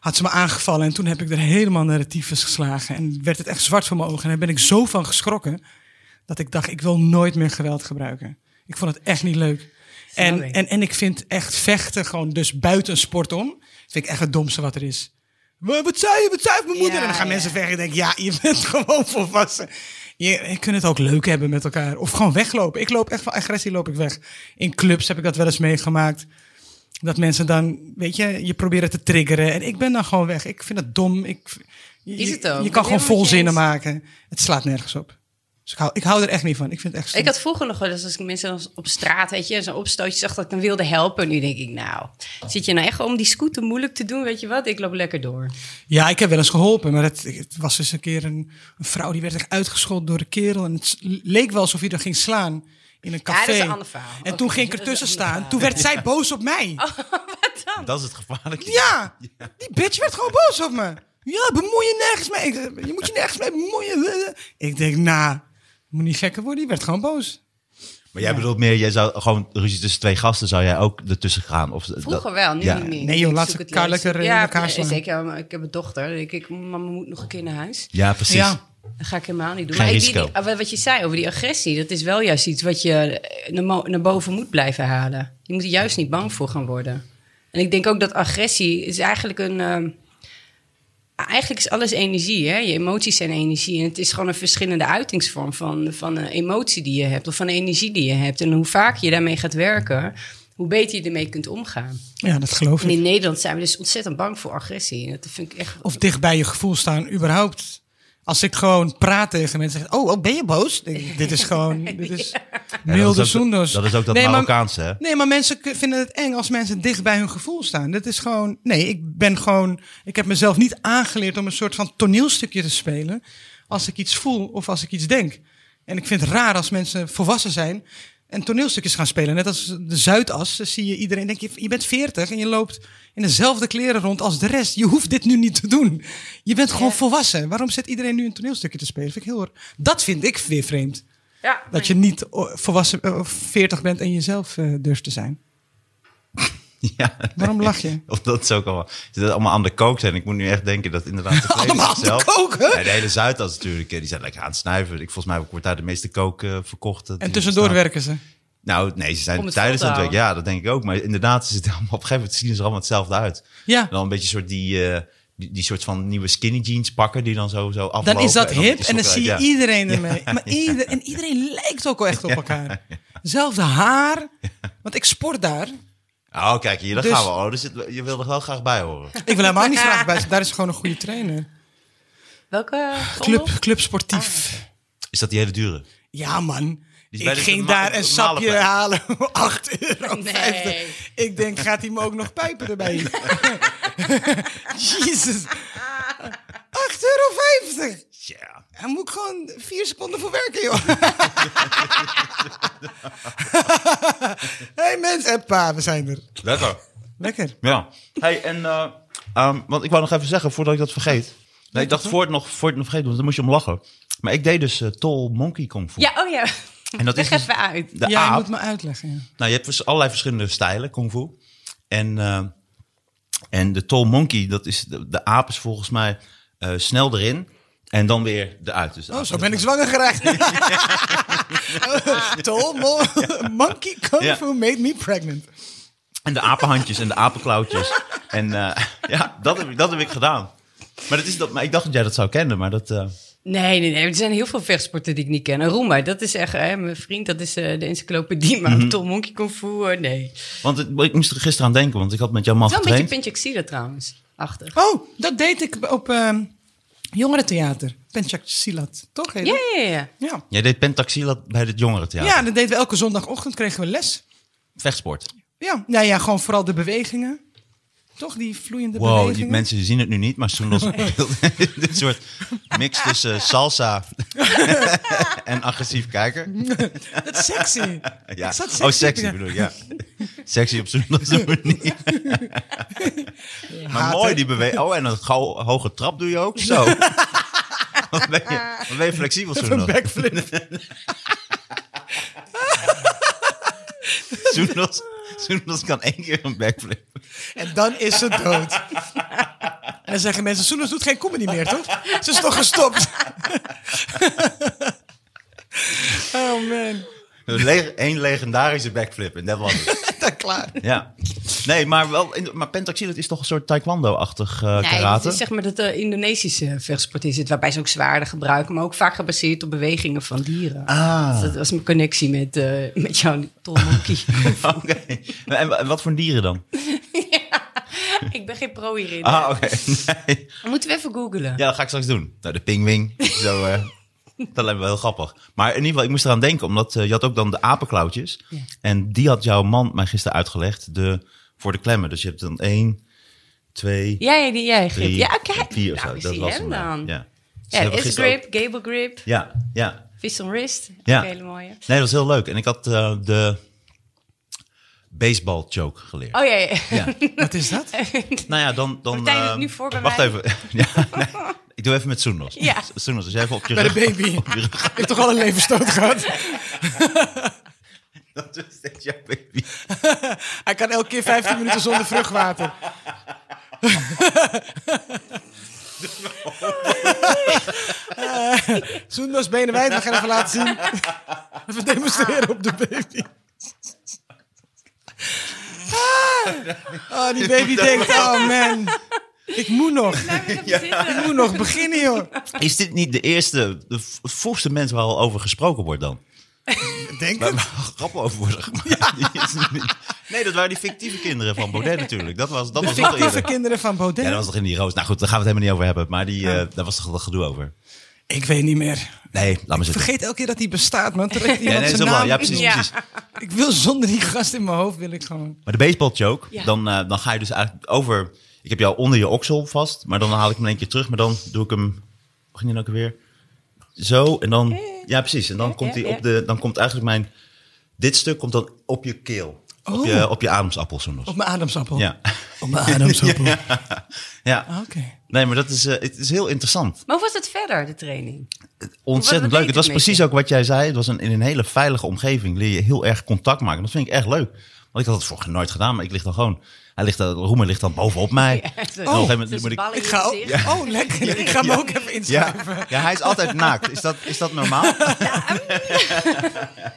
Speaker 3: Had ze me aangevallen. En toen heb ik er helemaal naar de tyfus geslagen. En werd het echt zwart voor mijn ogen. En daar ben ik zo van geschrokken. Dat ik dacht, ik wil nooit meer geweld gebruiken. Ik vond het echt niet leuk.
Speaker 4: Snap
Speaker 3: En,
Speaker 4: ik.
Speaker 3: en, en ik vind echt vechten gewoon dus buiten sport om. Vind ik echt het domste wat er is. Wa- Wat zei je? Wat zei mijn moeder?
Speaker 4: Ja,
Speaker 3: en dan gaan
Speaker 4: ja.
Speaker 3: mensen vechten. Ik denk, ja, je (laughs) bent gewoon volwassen. Je, je kunt het ook leuk hebben met elkaar. Of gewoon weglopen. Ik loop echt van agressie loop ik weg. In clubs heb ik dat wel eens meegemaakt. Dat mensen dan, weet je, je proberen te triggeren. En ik ben dan gewoon weg. Ik vind het dom. Ik, je,
Speaker 4: Is het ook?
Speaker 3: Je
Speaker 4: Ik
Speaker 3: kan gewoon
Speaker 4: ben helemaal met je
Speaker 3: volzinnen
Speaker 4: eens.
Speaker 3: maken. Het slaat nergens op. Dus ik hou, ik hou er echt niet van. Ik vind het echt stom.
Speaker 4: Ik had vroeger nog wel eens, als ik mensen dan op straat, weet je, zo'n opstootje zag dat ik dan wilde helpen. Nu denk ik, nou, zit je nou echt om die scooter moeilijk te doen, weet je wat? Ik loop lekker door.
Speaker 3: Ja, ik heb wel eens geholpen, maar het, het was eens een keer een, een vrouw die werd echt uitgescholden door de kerel. En het s- leek wel alsof hij er ging slaan in een
Speaker 4: Ja, dat
Speaker 3: café.
Speaker 4: is een ander verhaal.
Speaker 3: En
Speaker 4: Oké,
Speaker 3: toen ging ik
Speaker 4: dat is
Speaker 3: ertussen
Speaker 4: een ander
Speaker 3: staan.
Speaker 4: verhaal. Oh,
Speaker 3: Toen werd zij boos op
Speaker 4: (laughs)
Speaker 3: mij.
Speaker 2: Dat is het gevaarlijke.
Speaker 3: Ja, die bitch werd gewoon boos op me. Ja, bemoei je nergens mee. Ik- eh, je moet je nergens mee bemoeien. Ik denk, nou, moet niet gekker worden. Die werd gewoon boos.
Speaker 2: Maar jij bedoelt meer, jij zou gewoon ruzie tussen twee gasten, zou jij ook ertussen gaan? Of,
Speaker 4: Vroeger
Speaker 2: dat-
Speaker 4: wel, nu
Speaker 2: ja.
Speaker 4: niet meer.
Speaker 3: Nee, joh,
Speaker 4: Ik
Speaker 3: laat
Speaker 4: zoek
Speaker 3: ze
Speaker 4: het
Speaker 3: elkaar
Speaker 4: leukst.
Speaker 3: lekker in
Speaker 4: ja,
Speaker 3: elkaar slaan.
Speaker 4: Zeker, maar ik heb een dochter. Dan denk ik, mama moet nog een keer naar huis.
Speaker 2: Ja, precies.
Speaker 3: Ja.
Speaker 4: Dat ga ik helemaal niet doen.
Speaker 2: Geen
Speaker 4: maar ik-
Speaker 2: risico.
Speaker 4: die- die- wat je zei over die agressie, dat is wel juist iets wat je eh, naar, mo- naar boven moet blijven halen. Je moet er juist niet bang voor gaan worden. En ik denk ook dat agressie is eigenlijk een. ehm, eigenlijk is alles energie. Hè? Je emoties zijn energie. En het is gewoon een verschillende uitingsvorm van, van een emotie die je hebt of van de energie die je hebt. En hoe vaker je daarmee gaat werken, hoe beter je ermee kunt omgaan.
Speaker 3: Ja, dat geloof
Speaker 4: En
Speaker 3: ik.
Speaker 4: in Nederland zijn we dus ontzettend bang voor agressie. En Dat vind ik echt.
Speaker 3: Of dicht bij je gevoel staan, überhaupt. Als ik gewoon praat tegen mensen, zeg, oh, oh, ben je boos? Denk ik, Dit is gewoon, dit
Speaker 4: (laughs)
Speaker 3: is
Speaker 2: Ja,
Speaker 3: milde
Speaker 2: dat is ook-
Speaker 3: zoenders.
Speaker 2: Dat is ook dat
Speaker 3: Nee, maar-
Speaker 2: Marokkaanse, hè?
Speaker 3: Nee, maar mensen k- vinden het eng als mensen dicht bij hun gevoel staan. Dat is gewoon. Nee, ik ben gewoon. Ik heb mezelf niet aangeleerd om een soort van toneelstukje te spelen. Als ik iets voel of als ik iets denk. En ik vind het raar als mensen volwassen zijn en toneelstukjes gaan spelen. Net als de Zuidas dan zie je iedereen. Denk je, je bent 40 en je loopt in dezelfde kleren rond als de rest. Je hoeft dit nu niet te doen. Je bent gewoon volwassen. Waarom zit iedereen nu een toneelstukje te spelen? Vind ik heel, raar. dat vind ik weer vreemd.
Speaker 4: Ja,
Speaker 3: Dat je niet o- volwassen eh, of 40 bent en jezelf eh, durft te zijn.
Speaker 2: (laughs) Ja.
Speaker 3: Waarom lach je?
Speaker 2: (laughs) Of dat is ook allemaal, dat het allemaal aan de kook zijn. Ik moet nu echt denken dat inderdaad... (laughs) de
Speaker 3: Allemaal aan de
Speaker 2: zelf-
Speaker 3: kook, hè?
Speaker 2: Nee, de hele Zuidas natuurlijk. eh, Die zijn lekker aan het snuiven. Ik, volgens mij wordt daar de meeste kook eh, verkocht. eh,
Speaker 3: En
Speaker 2: die
Speaker 3: tussendoor
Speaker 2: staan.
Speaker 3: werken ze.
Speaker 2: Nou, nee, ze
Speaker 4: Om
Speaker 2: zijn
Speaker 4: het
Speaker 2: tijdens
Speaker 4: vol te
Speaker 2: het werk. Ja, dat denk ik ook. Maar inderdaad, ze zitten allemaal, op een gegeven moment zien ze er allemaal hetzelfde uit.
Speaker 3: Ja.
Speaker 2: En Dan een beetje soort die... eh, die, die soort van nieuwe skinny jeans pakken die dan zo, zo aflopen.
Speaker 3: Dan is dat
Speaker 2: En dan
Speaker 3: hip
Speaker 2: die
Speaker 3: en dan
Speaker 2: sokken-
Speaker 3: zie je
Speaker 2: ja.
Speaker 3: iedereen ermee.
Speaker 2: (laughs)
Speaker 3: Maar ieder, en iedereen lijkt ook wel echt op elkaar. Zelfde haar. Want ik sport daar.
Speaker 2: Oh, kijk hier, daar
Speaker 3: Dus-
Speaker 2: gaan we. Oh, dus het- je wil er wel graag bij horen.
Speaker 3: Ik wil helemaal niet
Speaker 2: (laughs)
Speaker 3: graag bij zijn. Daar is gewoon een goede trainer.
Speaker 4: welke
Speaker 3: Club,
Speaker 4: golf?
Speaker 3: club sportief.
Speaker 2: Is dat die hele dure?
Speaker 3: Ja man.
Speaker 2: is
Speaker 3: Ik
Speaker 2: Dus bij de
Speaker 3: ging
Speaker 2: norma-
Speaker 3: daar een
Speaker 2: normale
Speaker 3: sapje
Speaker 2: prijs.
Speaker 3: halen. (laughs) 8 euro.
Speaker 4: Nee.
Speaker 3: Ik denk, gaat hij me ook nog pijpen (laughs) erbij? Jezus. 8,50 euro.
Speaker 2: Ja.
Speaker 3: Daar moet ik gewoon vier seconden voor werken, (laughs) joh. hey mensen, en pa, we zijn er.
Speaker 2: Lekker.
Speaker 3: Lekker.
Speaker 2: Ja. Hey, en, eh, ehm, want ik wou nog even zeggen, voordat ik dat vergeet. Nee, ik dacht, voor het nog, voor het nog vergeten, want dan moest je om lachen. Maar ik deed dus eh, Tol Monkey Kung Fu.
Speaker 4: Ja, oh ja.
Speaker 2: En dat is
Speaker 4: Leg
Speaker 2: dus
Speaker 4: even uit.
Speaker 2: de
Speaker 3: ja, je
Speaker 2: aap.
Speaker 3: moet me uitleggen. ja.
Speaker 2: Nou, je hebt dus allerlei verschillende stijlen Kung Fu. En, eh, en de Tol Monkey, dat is de, de aap is volgens mij eh, snel erin en dan weer eruit. Dus de
Speaker 3: Oh,
Speaker 2: aap-
Speaker 3: zo ben ik zwanger (laughs) geraakt. Tol, mo- monkey kung
Speaker 2: Ja.
Speaker 3: fu made me pregnant.
Speaker 2: En de apenhandjes en de apenklauwtjes. (laughs) en eh, ja, dat heb, ik, dat heb ik gedaan. Maar, dat is dat, maar ik dacht dat jij dat zou kennen, maar dat... eh,
Speaker 4: Nee, nee, nee. Er zijn heel veel vechtsporten die ik niet ken. En Roema, dat is echt hè, mijn vriend. Dat is eh, de encyclopedie. Maar
Speaker 2: Mhm.
Speaker 4: Tom Monkey Kung Fu, eh, nee.
Speaker 2: Want het- ik moest er gisteren aan denken, want ik had met jouw man
Speaker 4: Het is wel een beetje
Speaker 2: getraind.
Speaker 4: Pintje Xila trouwens. Achter.
Speaker 3: Oh, dat deed ik op ehm jongerentheater. Penchak Silat, toch? heet
Speaker 4: Ja,
Speaker 3: het?
Speaker 4: ja, ja.
Speaker 3: Ja.
Speaker 2: Jij deed pentaxilat bij het
Speaker 3: Ja.
Speaker 2: jongerentheater.
Speaker 3: dat deden we elke zondagochtend, kregen we les.
Speaker 2: Vechtsport.
Speaker 3: Ja, nou ja, gewoon vooral de bewegingen. Toch, die vloeiende
Speaker 2: Wow, die
Speaker 3: bewegingen.
Speaker 2: mensen zien het nu niet, maar Soendel (laughs) speelde een soort mix tussen salsa (laughs) en agressief kijker.
Speaker 3: Dat Mhm. is
Speaker 2: (laughs)
Speaker 3: sexy.
Speaker 2: Ja.
Speaker 3: Ik zat
Speaker 2: oh,
Speaker 3: sexy te
Speaker 2: sexy
Speaker 3: kijken.
Speaker 2: bedoel ik, ja. Sexy op Soendel's
Speaker 3: (laughs)
Speaker 2: manier. maar
Speaker 3: Haat,
Speaker 2: mooi
Speaker 3: hè?
Speaker 2: die beweging. Oh, en een gauw- hoge trap doe je ook,
Speaker 3: (laughs)
Speaker 2: zo. Wat ben je, wat ben je flexibel,
Speaker 3: Even een
Speaker 2: Soendel.
Speaker 3: backflip.
Speaker 2: Soendels, Soendels kan één keer een backflip.
Speaker 3: En dan is ze dood. En dan zeggen mensen, Soenus doet geen comedy meer, toch? Ze is toch gestopt? oh man,
Speaker 2: Een le- één legendarische backflip en dat was het.
Speaker 3: dan klaar.
Speaker 2: Ja. Nee, maar, wel, in- maar pentaxilat is toch een soort taekwondo-achtig eh,
Speaker 4: Nee,
Speaker 2: karate?
Speaker 4: dat is zeg maar dat de Indonesische vechtsport is het. Waarbij ze ook zwaarden gebruiken. Maar ook vaak gebaseerd op bewegingen van dieren.
Speaker 2: Ah.
Speaker 4: Dus dat was mijn connectie met, eh, met jouw Tom Monkey.
Speaker 2: (laughs) Oké. En wa- en wat voor dieren dan?
Speaker 4: (laughs) ik ben geen pro hierin.
Speaker 2: Ah, oké. Nee.
Speaker 4: Moeten we even googlen.
Speaker 2: Ja, dat ga ik straks doen. Nou, de pingwing. Zo, eh, dat lijkt me wel heel grappig. Maar in ieder geval, ik moest eraan denken, omdat eh, je had ook dan de apenklauwtjes.
Speaker 4: Ja.
Speaker 2: En die had jouw man mij gisteren uitgelegd de, voor de klemmen. Dus je hebt dan één, twee,
Speaker 4: Jij, die jij, grip.
Speaker 2: drie,
Speaker 4: Ja, kijk.
Speaker 2: vier of
Speaker 4: Nou,
Speaker 2: zo. Dat
Speaker 4: zie
Speaker 2: was
Speaker 4: hem
Speaker 2: hem, ja.
Speaker 4: dan.
Speaker 2: Ja, Dus
Speaker 4: Ja,
Speaker 2: hebben we
Speaker 4: is
Speaker 2: gisteren
Speaker 4: grip,
Speaker 2: ook-
Speaker 4: gable grip,
Speaker 2: Ja, ja.
Speaker 4: fist on wrist.
Speaker 2: Ja.
Speaker 4: Ook een hele mooie.
Speaker 2: Nee, dat was heel leuk. En ik had eh, de baseball choke geleerd.
Speaker 4: Oh ja, (laughs) ja.
Speaker 2: Ja.
Speaker 3: Wat is dat?
Speaker 2: Nou ja, dan... dan
Speaker 4: Martijn doet
Speaker 2: eh,
Speaker 4: nu voor bij
Speaker 2: Wacht
Speaker 4: mij.
Speaker 2: even. (laughs) ja, nee, ik doe even met Soenos.
Speaker 4: Ja.
Speaker 2: Soenos, als jij even op je
Speaker 3: Bij de
Speaker 2: rug...
Speaker 3: baby.
Speaker 2: op je rug-
Speaker 3: Ik heb toch al een levensstoot gehad?
Speaker 2: Dat is dit jouw baby.
Speaker 3: Hij kan elke keer 15 minuten zonder vruchtwater. (laughs) Zoendas benen wijd, we gaan even laten zien. (laughs) Even demonstreren op de baby. Ah. Oh, die baby denkt, oh man, ik moet nog.
Speaker 4: Blijf even
Speaker 3: Ik
Speaker 4: zitten.
Speaker 3: moet nog beginnen, joh.
Speaker 2: Is dit niet de eerste, de v- vroegste mens waar al over gesproken wordt dan?
Speaker 3: Denk
Speaker 2: Waar, waar grappen over worden gemaakt. (laughs) Die is er niet. Nee, dat waren die fictieve kinderen van Baudet natuurlijk. Dat was, dat was nog
Speaker 3: Fictieve
Speaker 2: eerder.
Speaker 3: kinderen van
Speaker 2: Ja, dat
Speaker 3: Baudet.
Speaker 2: was toch in die roos. Nou goed, daar gaan we het helemaal niet over hebben. Maar die, eh, daar was toch dat gedoe over.
Speaker 3: Ik weet niet meer.
Speaker 2: Nee, laat maar zitten.
Speaker 3: Vergeet elke keer dat hij bestaat, man. Totdat iemand
Speaker 2: Ja, nee, dat is
Speaker 3: zijn
Speaker 2: helemaal-
Speaker 3: naam...
Speaker 2: ja, precies,
Speaker 4: Ja.
Speaker 2: precies.
Speaker 3: Ik wil zonder die gast in mijn hoofd, wil ik gewoon...
Speaker 2: Maar de baseball choke,
Speaker 4: Ja.
Speaker 2: dan, eh, dan ga je dus eigenlijk over... Ik heb jou onder je oksel vast, maar dan haal ik hem in één keer terug. Maar dan doe ik hem... Hoe ging die nou ook weer? Zo, en dan...
Speaker 4: Eh,
Speaker 2: Ja, precies. En dan,
Speaker 4: Ja,
Speaker 2: komt,
Speaker 4: ja,
Speaker 2: die
Speaker 4: ja.
Speaker 2: op de, dan komt eigenlijk mijn... Dit stuk komt dan op je keel. Op, je,
Speaker 4: Oh.
Speaker 2: op je ademsappel, zo nog.
Speaker 3: Op mijn ademsappel.
Speaker 2: Ja. (laughs)
Speaker 3: Op mijn ademsappel. Ah,
Speaker 2: ja.
Speaker 3: Oké.
Speaker 2: Nee, maar dat is, eh, het is heel interessant.
Speaker 4: Maar hoe was het verder, de training? (laughs) Wat- wat
Speaker 2: Ontzettend
Speaker 4: deed
Speaker 2: leuk. Het was
Speaker 4: het met
Speaker 2: precies
Speaker 4: je?
Speaker 2: ook wat jij zei. Het was een, in een hele veilige omgeving. Leer je heel erg contact maken. Dat vind ik echt leuk. Want ik had het voor nooit gedaan, maar ik lig dan gewoon... Hij ligt, dan- Roemer ligt dan bovenop mij.
Speaker 4: (laughs)
Speaker 2: En op een gegeven
Speaker 4: Oh,
Speaker 2: moment Oh. moet ik-
Speaker 3: Ik ga ook. Oh, lekker. Ik ga me ook even
Speaker 2: Ja,
Speaker 3: inschrijven.
Speaker 2: ja, hij is altijd naakt. Is dat, is dat normaal?
Speaker 4: ehm.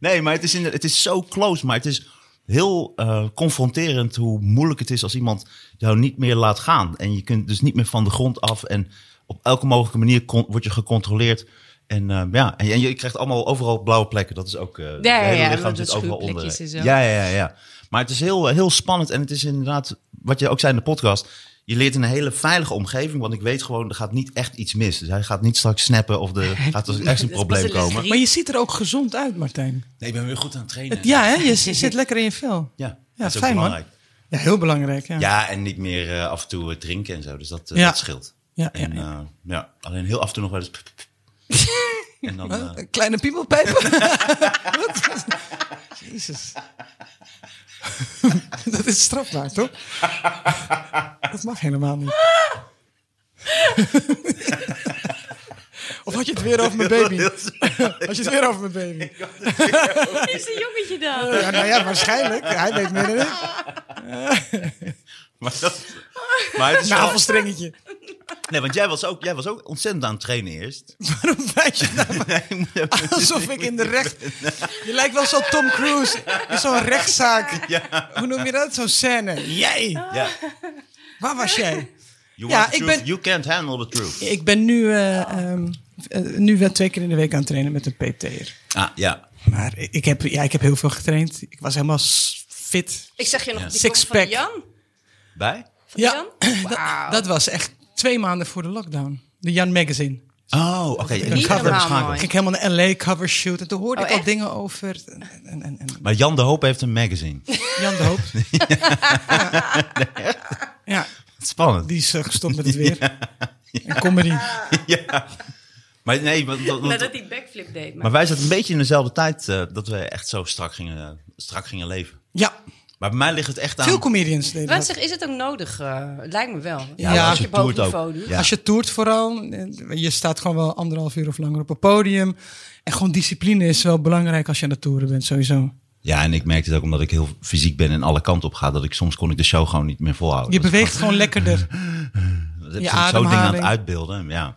Speaker 2: (laughs) nee, maar het is, in, het is zo close. Maar het is heel eh, confronterend hoe moeilijk het is als iemand jou niet meer laat gaan. En je kunt dus niet meer van de grond af. En op elke mogelijke manier kon- word je gecontroleerd. En eh, ja, en je, en je krijgt allemaal overal blauwe plekken. Dat is ook. eh het
Speaker 4: ja,
Speaker 2: hele
Speaker 4: ja,
Speaker 2: lichaam
Speaker 4: want
Speaker 2: zit
Speaker 4: dat
Speaker 2: overal onder.
Speaker 4: schuurplekjes
Speaker 2: Ja,
Speaker 4: en zo.
Speaker 2: ja, ja, ja. Maar het is heel, eh, heel spannend. En het is inderdaad, wat je ook zei in de podcast. Je leert in een hele veilige omgeving. Want ik weet gewoon, er gaat niet echt iets mis. Dus hij gaat niet straks snappen
Speaker 3: (laughs)
Speaker 2: of er gaat er echt een
Speaker 4: pas een
Speaker 2: probleem
Speaker 4: les
Speaker 2: komen.
Speaker 4: drie.
Speaker 3: Maar je ziet er ook gezond uit, Martijn.
Speaker 2: Nee, ik ben weer goed aan het trainen.
Speaker 3: Ja, hè? Je z- zit lekker in je vel.
Speaker 2: Ja,
Speaker 3: Ja,
Speaker 2: dat is ook
Speaker 3: fijn, man.
Speaker 2: belangrijk.
Speaker 3: Ja, heel belangrijk. Ja.
Speaker 2: Ja, en niet meer eh, af en toe eh, drinken en zo. Dus dat, eh,
Speaker 3: Ja.
Speaker 2: dat scheelt.
Speaker 3: Ja, ja,
Speaker 2: en, eh, ja. alleen heel af en toe nog wel eens...
Speaker 3: (laughs)
Speaker 2: en dan... eh,
Speaker 3: Een kleine (laughs) piepelpijp. Wat? Jezus. (laughs) Dat is strafbaar, toch? Dat mag helemaal (laughs) niet. Of had je het weer over mijn
Speaker 2: (laughs)
Speaker 3: baby? Had je het weer over mijn baby?
Speaker 4: is een jongetje dan.
Speaker 2: Eh,
Speaker 3: Ja, nou ja, waarschijnlijk. Hij weet meer dan ik.
Speaker 2: maar, dat, maar het is
Speaker 3: Nou.
Speaker 2: wel-
Speaker 3: (laughs) Navelstrengetje.
Speaker 2: Nee, want jij was, ook, jij was ook ontzettend aan het trainen eerst.
Speaker 3: Waarom wijs je naar mij?
Speaker 2: Ik moet even-
Speaker 3: (laughs) Alsof ik in de recht... Je lijkt wel zo'n Tom Cruise. in Zo'n rechtszaak. Hoe noem je dat? Zo'n scène. Jij.
Speaker 2: ja.
Speaker 3: Waar was jij?
Speaker 2: You,
Speaker 3: Ja,
Speaker 2: want the
Speaker 3: ik
Speaker 2: truth,
Speaker 3: ben-
Speaker 2: you can't handle the truth.
Speaker 3: (laughs) Ik ben nu, eh, ehm, eh, nu wel twee keer in de week aan het trainen met een PT'er.
Speaker 2: Ah, ja.
Speaker 3: Maar ik ik heb, ja, ik heb heel veel getraind. Ik was helemaal s- fit.
Speaker 4: Ik zeg je nog, die
Speaker 3: Six
Speaker 4: komt van
Speaker 3: pack.
Speaker 4: Jan.
Speaker 2: Bij?
Speaker 4: Van Jan?
Speaker 3: (laughs)
Speaker 4: Wauw.
Speaker 3: dat, dat was echt twee maanden voor de lockdown. De Jan Magazine.
Speaker 2: Oh, oké.
Speaker 4: Niet
Speaker 2: Een cover
Speaker 4: normaal
Speaker 2: schakel.
Speaker 4: mooi.
Speaker 3: Ik ging helemaal naar LA cover shoot. En toen hoorde
Speaker 4: Oh,
Speaker 3: ik al
Speaker 4: echt?
Speaker 3: dingen over. En, en, en
Speaker 2: Maar Jan de Hoop heeft een magazine.
Speaker 3: Jan de Hoop. ja. Ja,
Speaker 2: (laughs) Spannend.
Speaker 3: die is eh, gestopt met het weer. En comedy.
Speaker 2: ja. Maar nee, want, want-
Speaker 4: Nadat hij backflip deed.
Speaker 2: maar wij zaten een beetje in dezelfde tijd eh, dat we echt zo strak gingen, strak gingen leven.
Speaker 3: Ja,
Speaker 2: Maar bij mij ligt het echt aan...
Speaker 3: veel comedians deden
Speaker 4: Wat
Speaker 3: dat.
Speaker 4: zeg, is het ook nodig? eh? Het lijkt me wel.
Speaker 3: Ja, als
Speaker 4: als je
Speaker 2: toert
Speaker 4: boven
Speaker 2: ook.
Speaker 4: niveau doet.
Speaker 2: Ja.
Speaker 3: Als je toert vooral, eh, je staat gewoon wel anderhalf uur of langer op een podium. En gewoon discipline is wel belangrijk als je aan het toeren bent, sowieso.
Speaker 2: Ja, en ik merkte het ook omdat ik heel fysiek ben en alle kanten op ga, dat ik soms kon ik de show gewoon niet meer volhouden.
Speaker 3: Je
Speaker 2: Dat-
Speaker 3: beweegt gewoon lekkerder.
Speaker 2: dat
Speaker 3: je
Speaker 2: ik soms zo dingen aan het
Speaker 3: ademhaling.
Speaker 2: uitbeelden. Ja.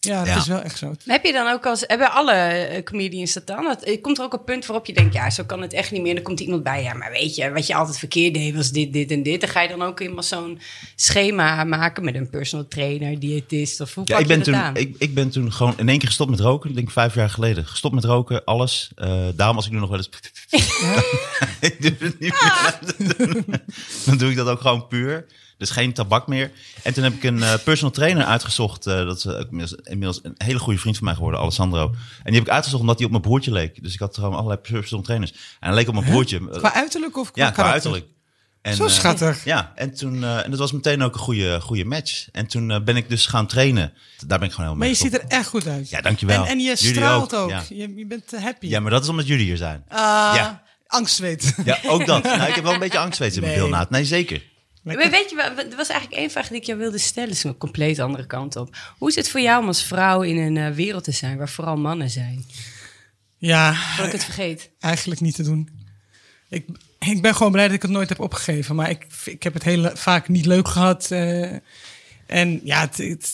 Speaker 3: Ja, dat
Speaker 2: Ja.
Speaker 3: is wel echt zo.
Speaker 4: Maar Heb je dan ook als hebben alle eh, comedians dat dan? Dat, eh, komt er ook een punt waarop je denkt, ja, zo kan het echt niet meer. En dan komt iemand bij, ja, maar weet je, wat je altijd verkeerd deed was dit, dit en dit. Dan ga je dan ook helemaal zo'n schema maken met een personal trainer, diëtist of hoe
Speaker 2: Ja,
Speaker 4: pak
Speaker 2: ik ben,
Speaker 4: je dat
Speaker 2: toen,
Speaker 4: aan?
Speaker 2: ik, ik ben toen gewoon in één keer gestopt met roken. Ik denk vijf jaar geleden. Gestopt met roken, alles. Eh, daarom als ik nu nog wel eens... (laughs) ik durf het niet meer te
Speaker 4: (laughs)
Speaker 2: doen. Dan doe ik dat ook gewoon puur. Dus geen tabak meer. En toen heb ik een eh, personal trainer uitgezocht. eh, dat is eh, ook inmiddels, inmiddels een hele goede vriend van mij geworden, Alessandro. En die heb ik uitgezocht omdat hij op mijn broertje leek. Dus ik had gewoon allerlei personal trainers. En hij leek op mijn broertje.
Speaker 3: Qua uiterlijk of qua
Speaker 2: ja, qua
Speaker 3: karakter?
Speaker 2: uiterlijk. En,
Speaker 3: Zo
Speaker 2: eh,
Speaker 3: schattig.
Speaker 2: ja, en, toen, eh, en dat was meteen ook een goede, goede match. En toen eh, ben ik dus gaan trainen. Daar ben ik gewoon helemaal
Speaker 3: Maar
Speaker 2: mee
Speaker 3: je
Speaker 2: gestopt.
Speaker 3: ziet er echt goed uit.
Speaker 2: Ja, dankjewel.
Speaker 3: En, en je
Speaker 2: Jullie
Speaker 3: straalt
Speaker 2: ook,
Speaker 3: ook.
Speaker 2: ja.
Speaker 3: Je, je bent eh, happy.
Speaker 2: Ja, maar dat is omdat jullie hier zijn.
Speaker 3: Ah,
Speaker 2: Ja.
Speaker 3: Angstzweet.
Speaker 2: Ja, ook dat. Nou, ik heb wel een beetje angst in mijn
Speaker 3: Nee.
Speaker 2: heel naad. Nee, zeker.
Speaker 4: Maar weet je, wat- er was eigenlijk één vraag die ik jou wilde stellen. is een compleet andere kant op. Hoe is het voor jou om als vrouw in een eh, wereld te zijn waar vooral mannen zijn?
Speaker 3: Ja,
Speaker 4: Voordat ik het (laughs) vergeet.
Speaker 3: eigenlijk niet te doen. Ik, ik ben gewoon blij dat ik het nooit heb opgegeven. Maar ik, ik heb het heel le- vaak niet leuk gehad. eh, en ja, het, het,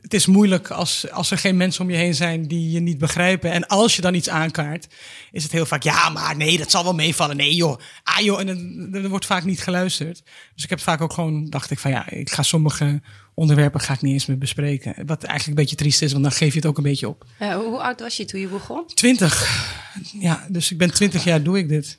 Speaker 3: het is moeilijk als, als er geen mensen om je heen zijn die je niet begrijpen. En als je dan iets aankaart, is het heel vaak... Ja, maar nee, dat zal wel meevallen. Nee joh, ah joh. En dan- er wordt vaak niet geluisterd. Dus ik heb vaak ook gewoon, dacht ik van ja, ik ga sommige onderwerpen ga ik niet eens meer bespreken. Wat eigenlijk een beetje triest is, want dan geef je het ook een beetje op.
Speaker 4: Eh, hoe, hoe oud was je toen je begon?
Speaker 3: 20. Ja, dus ik ben 20 jaar doe ik dit.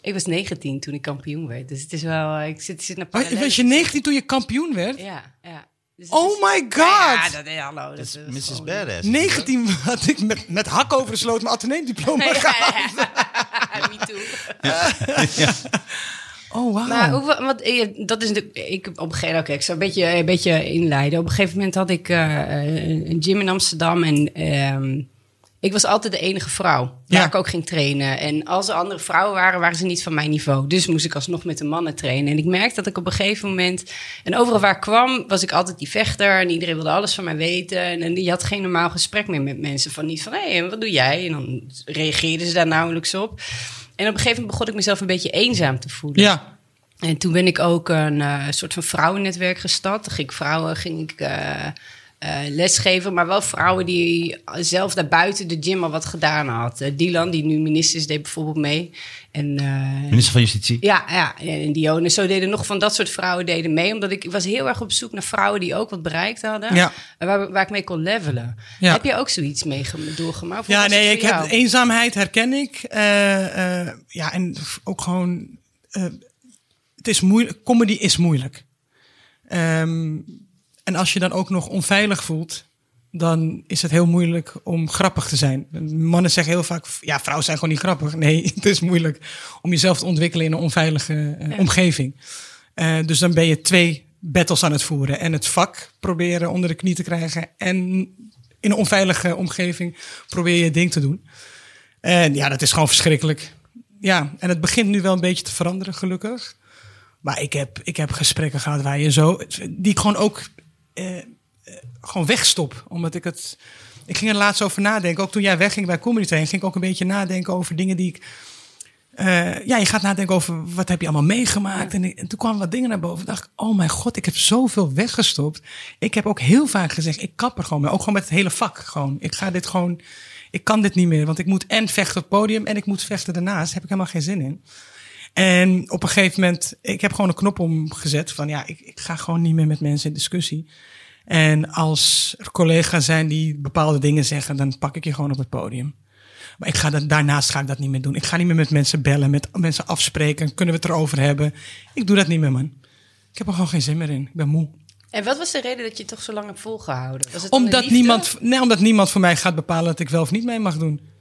Speaker 4: Ik was 19 toen ik kampioen werd. Dus het is wel, eh, ik zit, zit naar
Speaker 3: Oh,
Speaker 4: parallellen.
Speaker 3: was je 19 toen je kampioen werd?
Speaker 4: Ja, ja. Dus het
Speaker 3: Oh
Speaker 4: is-
Speaker 3: my
Speaker 4: Ja,
Speaker 3: god!
Speaker 4: dat, ja, hallo. Dat,
Speaker 2: Dat is
Speaker 4: is
Speaker 2: Mrs.
Speaker 4: gewoon-
Speaker 2: Badass.
Speaker 3: 19 had ik met, met hak over de sloot mijn ateneemdiploma
Speaker 4: Ja,
Speaker 3: gehaald.
Speaker 4: ja, ja. (laughs) Me too.
Speaker 3: Oh, wauw.
Speaker 4: Maar hoeveel, want, eh, dat is de, ik op een gegeven moment, oké, ik zou een beetje, een beetje inleiden. Op een gegeven moment had ik eh, een een gym in Amsterdam en ehm, ik was altijd de enige vrouw waar
Speaker 3: Ja.
Speaker 4: ik ook ging trainen. En als er andere vrouwen waren, waren ze niet van mijn niveau. Dus moest ik alsnog met de mannen trainen. En ik merkte dat ik op een gegeven moment, en overal waar ik kwam, was ik altijd die vechter en iedereen wilde alles van mij weten. En, en je had geen normaal gesprek meer met mensen van niet van, hé, en wat doe jij? En dan reageerden ze daar nauwelijks op. En op een gegeven moment begon ik mezelf een beetje eenzaam te voelen.
Speaker 3: ja.
Speaker 4: En toen ben ik ook een eh, soort van vrouwennetwerk gestart. Dan ging ik vrouwen ging ik, eh, eh, lesgeven, maar wel vrouwen die zelf daar buiten de gym al wat gedaan had. Eh, Dylan, die nu minister is, deed bijvoorbeeld mee. En eh,
Speaker 2: Minister van Justitie.
Speaker 4: ja, ja, en Dionne. Zo deden nog van dat soort vrouwen deden mee. Omdat ik, ik was heel erg op zoek naar vrouwen die ook wat bereikt hadden.
Speaker 3: Ja.
Speaker 4: En Waar, waar ik mee kon levelen.
Speaker 3: Ja.
Speaker 4: Heb je ook zoiets mee ge- doorgemaakt? Of
Speaker 3: ja,
Speaker 4: was
Speaker 3: nee,
Speaker 4: het
Speaker 3: ik
Speaker 4: voor
Speaker 3: heb
Speaker 4: jou?
Speaker 3: eenzaamheid, herken ik. Eh, eh, ja, en ook gewoon... eh, het is moeilijk, comedy is moeilijk. Ehm, en als je dan ook nog onveilig voelt, dan is het heel moeilijk om grappig te zijn. Mannen zeggen heel vaak, ja, vrouwen zijn gewoon niet grappig. Nee, (laughs) het is moeilijk om jezelf te ontwikkelen in een onveilige eh, omgeving. Eh, dus dan ben je twee battles aan het voeren. En het vak proberen onder de knie te krijgen. En in een onveilige omgeving probeer je je ding te doen. En ja, dat is gewoon verschrikkelijk. Ja, en het begint nu wel een beetje te veranderen, gelukkig. Maar ik heb, ik heb gesprekken gehad waar je zo. die ik gewoon ook. eh, eh, gewoon wegstop. Omdat ik het. Ik ging er laatst over nadenken. Ook toen jij wegging bij Comedy Train, ging ik ook een beetje nadenken over dingen die ik. eh, ja, je gaat nadenken over wat heb je allemaal meegemaakt. En, ik- en toen kwamen wat dingen naar boven. dacht ik, oh mijn god, ik heb zoveel weggestopt. Ik heb ook heel vaak gezegd, ik kap er gewoon mee. Ook gewoon met het hele vak. Gewoon. Ik ga dit gewoon, ik kan dit niet meer. Want ik moet en vechten op het podium en ik moet vechten daarnaast. Daar heb ik helemaal geen zin in. En op een gegeven moment, ik heb gewoon een knop omgezet van ja, ik, ik ga gewoon niet meer met mensen in discussie. En als er collega's zijn die bepaalde dingen zeggen, dan pak ik je gewoon op het podium. Maar ik ga dat, daarnaast ga ik dat niet meer doen. Ik ga niet meer met mensen bellen, met mensen afspreken. Kunnen we het erover hebben? Ik doe dat niet meer, man. Ik heb er gewoon geen zin meer in. Ik ben moe.
Speaker 4: En wat was de reden dat je het toch zo lang hebt volgehouden? Was het dan de
Speaker 3: Omdat
Speaker 4: liefde?
Speaker 3: niemand, nee, omdat niemand voor mij gaat bepalen dat ik wel of niet mee mag doen.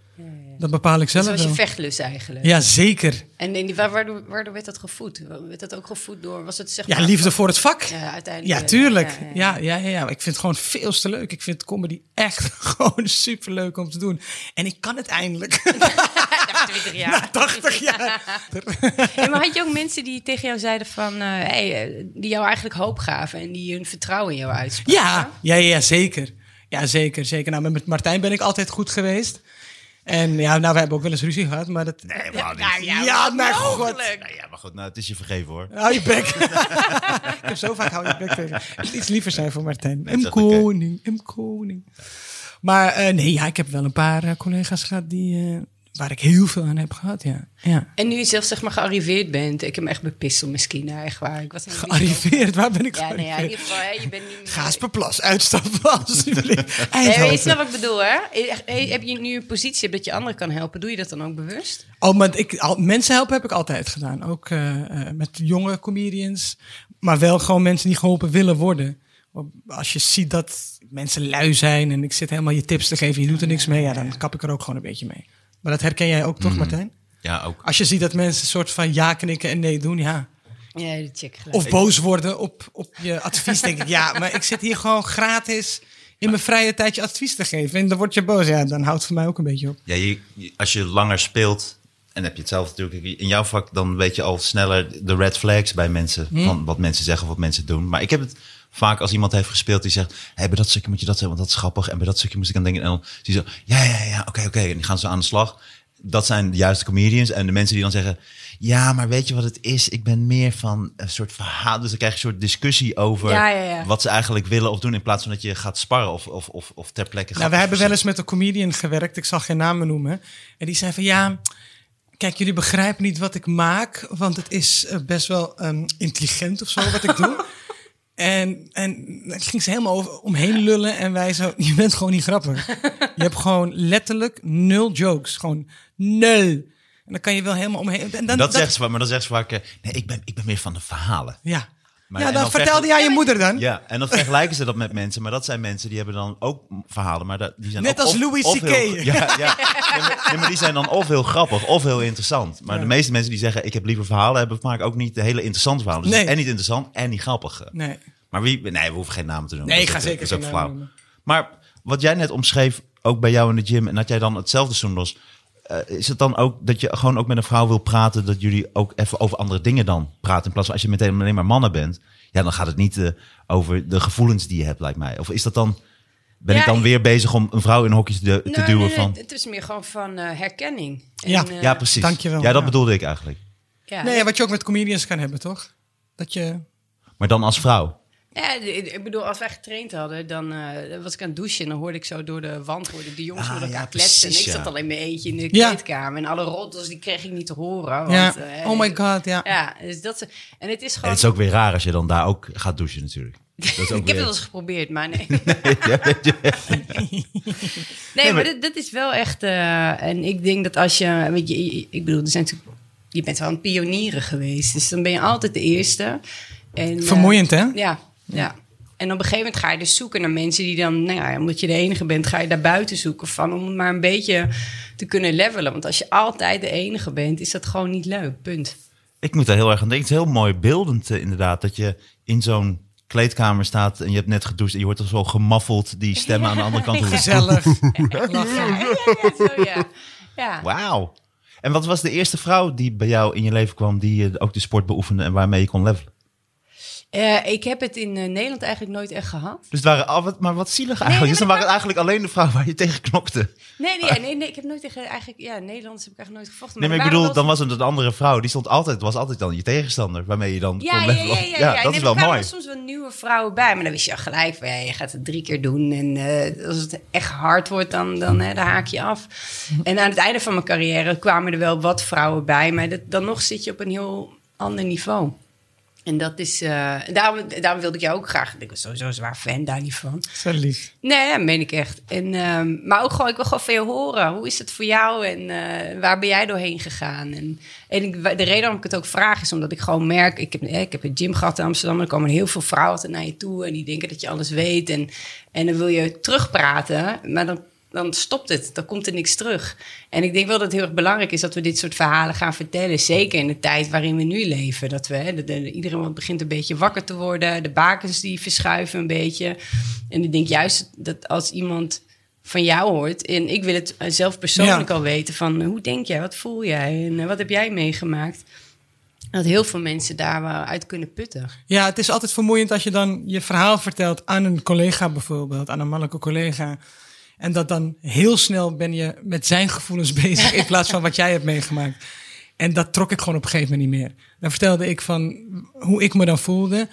Speaker 3: Dat bepaal ik zelf
Speaker 4: Dus dat was
Speaker 3: wel.
Speaker 4: je vechtlust eigenlijk.
Speaker 3: Ja, zeker.
Speaker 4: En in die, waar- waardoor, waardoor werd dat gevoed? Werd dat ook gevoed door? Was het zeg
Speaker 3: Ja,
Speaker 4: maar-
Speaker 3: liefde voor het vak.
Speaker 4: Ja, uiteindelijk. eh,
Speaker 3: Ja, tuurlijk. Ja, ja, ja, ja. Ik vind het gewoon veel te leuk. Ik vind comedy echt (laughs) gewoon superleuk om te doen. En ik kan het eindelijk.
Speaker 4: (laughs) Na 20 jaar.
Speaker 3: (laughs) Na 80
Speaker 4: (laughs)
Speaker 3: jaar.
Speaker 4: Hey, maar had je ook mensen die tegen jou zeiden van... eh, hey, eh, die jou eigenlijk hoop gaven en die hun vertrouwen in jou uitspraken?
Speaker 3: Ja, ja, ja, zeker. Ja, zeker, zeker. Nou, met Martijn ben ik altijd goed geweest. En ja, nou, we hebben ook wel eens ruzie gehad, maar dat...
Speaker 2: Nee, helemaal niet.
Speaker 4: Nou ja,
Speaker 3: Ja,
Speaker 4: wat
Speaker 3: mijn god.
Speaker 4: mogelijk.
Speaker 2: Nou ja, maar goed, nou, het is je vergeven hoor.
Speaker 3: Hou je bek. (laughs) ik heb zo vaak hou je bek tegen. Ik moet iets liever zijn voor Martijn.
Speaker 2: Nee,
Speaker 3: M.
Speaker 2: dat is oké.
Speaker 3: Koning, M. Koning. Maar eh, nee, ja, ik heb wel een paar eh, collega's gehad die, eh, waar ik heel veel aan heb gehad, ja. ja.
Speaker 4: En nu je zelf zeg maar gearriveerd bent. Ik heb me echt bepisteld misschien, nou, echt waar. Ik was helemaal niet
Speaker 3: Gearriveerd, waar ben ik
Speaker 4: zo- Ja, nee, ja, in
Speaker 3: gearriveerd?
Speaker 4: ieder geval, hè, je bent niet meer...
Speaker 3: Gaasperplas, uitstappen (laughs) alsjeblieft.
Speaker 4: Nee, maar
Speaker 3: Eindhoven.
Speaker 4: je snapt wat ik bedoel, hè? Eh, eh, Heb je nu een positie dat je anderen kan helpen? Doe je dat dan ook bewust?
Speaker 3: Oh, maar ik, al, mensen helpen heb ik altijd gedaan. Ook eh, eh, met jonge comedians. Maar wel gewoon mensen die geholpen willen worden. Op- Als je ziet dat mensen lui zijn en ik zit helemaal je tips te geven, je doet er niks mee, ja, dan kap ik er ook gewoon een beetje mee. Maar dat herken jij ook toch, Martijn?
Speaker 2: Ja, ook.
Speaker 3: Als je ziet dat mensen een soort van ja knikken en nee doen, ja.
Speaker 4: Ja, dat check gelijk.
Speaker 3: Of boos worden op, op je advies, denk ik. Ja, maar ik zit hier gewoon gratis in mijn vrije tijd je advies te geven. En dan word je boos. Ja, dan houdt het voor mij ook een beetje op.
Speaker 2: Ja, je, je- als je langer speelt, en heb je hetzelfde natuurlijk in jouw vak, dan weet je al sneller de red flags bij mensen.
Speaker 4: Hm?
Speaker 2: Van wat mensen zeggen, wat mensen doen. Maar ik heb het vaak als iemand heeft gespeeld die zegt: hey, bij dat stukje moet je dat zeggen, want dat is grappig. En bij dat stukje moest ik aan denken. En dan zie je zo: ja, ja, ja, oké, oké. En die gaan ze aan de slag. Dat zijn de juiste comedians. En de mensen die dan zeggen: ja, maar weet je wat het is? Ik ben meer van een soort verhaal. Dus dan krijg je een soort discussie over
Speaker 4: Ja, ja, ja.
Speaker 2: wat ze eigenlijk willen of doen. In plaats van dat je gaat sparren of, of, of, of ter plekke gaat.
Speaker 3: Nou, we hebben wel eens met een comedian gewerkt. Ik zal geen namen noemen. En die zei van ja. Kijk, jullie begrijpen niet wat ik maak, want het is eh, best wel ehm, intelligent of zo wat ik
Speaker 4: (laughs)
Speaker 3: doe. En, en het ging ze helemaal over, omheen lullen en wij zo, je bent gewoon niet grappig. Je hebt gewoon letterlijk nul jokes. Gewoon nul. En dan kan je wel helemaal omheen. En dan,
Speaker 2: dat, zegt ze, vaak, maar dan zegt ze vaak, eh, nee, ik ben, ik ben meer van de verhalen.
Speaker 3: Ja.
Speaker 2: Maar-
Speaker 3: ja,
Speaker 2: en
Speaker 3: dan,
Speaker 2: dan
Speaker 3: vertelde
Speaker 2: vergel-
Speaker 3: jij je moeder dan.
Speaker 2: Ja, en dan vergelijken ze dat met mensen, maar dat zijn mensen die hebben dan ook verhalen, maar dat- die zijn
Speaker 3: Net
Speaker 2: ook
Speaker 3: als
Speaker 2: of-
Speaker 3: Louis
Speaker 2: of heel-
Speaker 3: CK.
Speaker 2: Ja, ja. Nee, maar, nee, maar die zijn dan of heel grappig of heel interessant. Maar de meeste mensen die zeggen, ik heb liever verhalen, hebben vaak ook niet de hele interessante verhalen. Dus
Speaker 3: Nee.
Speaker 2: en niet interessant en niet grappig.
Speaker 3: Nee.
Speaker 2: Maar wie, nee, we hoeven geen namen te noemen.
Speaker 3: Nee,
Speaker 2: Dat
Speaker 3: ik
Speaker 2: is
Speaker 3: ga
Speaker 2: ook- dat
Speaker 3: zeker
Speaker 2: is ook
Speaker 3: geen namen
Speaker 2: flauw.
Speaker 3: noemen.
Speaker 2: Maar wat jij net omschreef, ook bij jou in de gym, en dat jij dan hetzelfde zoendos. eh is het dan ook dat je gewoon ook met een vrouw wil praten, dat jullie ook even over andere dingen dan praten? In plaats van als je meteen alleen maar mannen bent, ja, dan gaat het niet eh, over de gevoelens die je hebt, lijkt mij. Of is dat dan, ben
Speaker 4: Ja,
Speaker 2: ik dan
Speaker 4: ik-
Speaker 2: weer bezig om een vrouw in hokjes te, te
Speaker 4: Nou,
Speaker 2: duwen
Speaker 4: nee,
Speaker 2: van?
Speaker 4: Het is meer gewoon van eh, herkenning. En,
Speaker 3: Ja.
Speaker 4: eh,
Speaker 2: ja, precies.
Speaker 3: dankjewel,
Speaker 2: Ja, dat
Speaker 3: ja.
Speaker 2: bedoelde ik eigenlijk.
Speaker 4: ja.
Speaker 3: Nee, wat je ook met comedians kan hebben, toch? Dat je...
Speaker 2: Maar dan als vrouw.
Speaker 4: Ja, ik ik bedoel, als wij getraind hadden, dan eh, was ik aan het douchen en dan hoorde ik zo door de wand hoorde ik de jongens
Speaker 2: Ah,
Speaker 4: door elkaar
Speaker 2: ja,
Speaker 4: kletsen.
Speaker 2: precies,
Speaker 4: en ik
Speaker 2: ja.
Speaker 4: zat al in mijn eentje in de
Speaker 3: Ja.
Speaker 4: kleedkamer en alle roddels die kreeg ik niet te horen. Want,
Speaker 3: ja.
Speaker 4: eh,
Speaker 3: oh my god, ja.
Speaker 4: Ja, dus dat, is- en het is
Speaker 2: En
Speaker 4: gewoon...
Speaker 2: het is ook weer raar als je dan daar ook gaat douchen natuurlijk. Dat is ook
Speaker 4: ik heb
Speaker 2: weer-
Speaker 4: het wel eens geprobeerd, maar (laughs) nee. (laughs) nee, maar dat, dat is wel echt... eh, en ik denk dat als je, weet je... je- Ik bedoel, er zijn natuurlijk, je bent wel een pionieren geweest. Dus dan ben je altijd de eerste. En, eh,
Speaker 3: Vermoeiend, hè?
Speaker 4: Ja, ja. En op een gegeven moment ga je dus zoeken naar mensen die dan, nou ja, omdat je de enige bent, ga je daar buiten zoeken van om het maar een beetje te kunnen levelen. Want als je altijd de enige bent, is dat gewoon niet leuk. Punt.
Speaker 2: Ik moet daar heel erg aan denken. Het is heel mooi beeldend eh, inderdaad. Dat je in zo'n kleedkamer staat en je hebt net gedoucht... en je hoort al zo gemaffeld die stemmen aan de andere
Speaker 4: (laughs)
Speaker 2: kant. horen.
Speaker 3: Gezellig.
Speaker 4: (laughs) Ja, ja, ja, zo, ja. ja.
Speaker 2: Wauw. En wat was de eerste vrouw die bij jou in je leven kwam... die eh, ook de sport beoefende en waarmee je kon levelen?
Speaker 4: Eh, ik heb het in eh, Nederland eigenlijk nooit echt gehad.
Speaker 2: Dus het waren al wat, maar wat zielig eigenlijk.
Speaker 4: nee,
Speaker 2: dus dan waren het eigenlijk alleen de vrouwen waar je tegen knokte.
Speaker 4: Nee, nee, ja, nee, nee ik heb nooit tegen eigenlijk, ja, Nederlands heb ik eigenlijk nooit gevochten.
Speaker 2: Ah. Nee, maar ik bedoel,
Speaker 4: er waren
Speaker 2: dan
Speaker 4: wel
Speaker 2: was het een andere vrouw. Die stond altijd, was altijd dan je tegenstander. Waarmee je dan kon
Speaker 4: Ja, ja, ja,
Speaker 2: levelen.
Speaker 4: ja, ja, ja.
Speaker 2: dat is
Speaker 4: Nee, maar
Speaker 2: wel
Speaker 4: er kwamen
Speaker 2: mooi.
Speaker 4: soms wel nieuwe vrouwen bij, maar dan wist je al gelijk van, ja, je gaat het drie keer doen. En eh, als het echt hard wordt, dan, dan, hè, dan haak je
Speaker 2: (laughs)
Speaker 4: af. En aan het einde van mijn carrière kwamen er wel wat vrouwen bij, maar dat, dan nog zit je op een heel ander niveau. En dat is, eh, daarom, daarom wilde ik jou ook graag, ik was sowieso een zwaar fan daar niet van.
Speaker 3: Zo lief.
Speaker 4: Nee, dat meen ik echt. En, ehm, maar ook gewoon, ik wil gewoon van je horen. Hoe is het voor jou en eh, waar ben jij doorheen gegaan? En, en ik, de reden waarom ik het ook vraag is omdat ik gewoon merk... Ik heb, eh, ik heb een gym gehad in Amsterdam en er komen heel veel vrouwen altijd naar je toe... en die denken dat je alles weet en, en dan wil je terugpraten, maar dan... Dan stopt het, dan komt er niks terug. En ik denk wel dat het heel erg belangrijk is dat we dit soort verhalen gaan vertellen. Zeker in de tijd waarin we nu leven. Dat we, hè, dat, eh, iedereen begint een beetje wakker te worden. De bakens die verschuiven een beetje. En ik denk juist dat als iemand van jou hoort, en ik wil het eh, zelf persoonlijk
Speaker 3: Ja.
Speaker 4: al weten, van eh, hoe denk jij, wat voel jij en eh, wat heb jij meegemaakt? Dat heel veel mensen daar wel uit kunnen putten.
Speaker 3: Ja, het is altijd vermoeiend als je dan je verhaal vertelt aan een collega bijvoorbeeld, aan een mannelijke collega. En dat dan heel snel ben je met zijn gevoelens (laughs) bezig in plaats van wat jij hebt meegemaakt. En dat trok ik gewoon op een gegeven moment niet meer. Dan vertelde ik van hoe ik me dan voelde.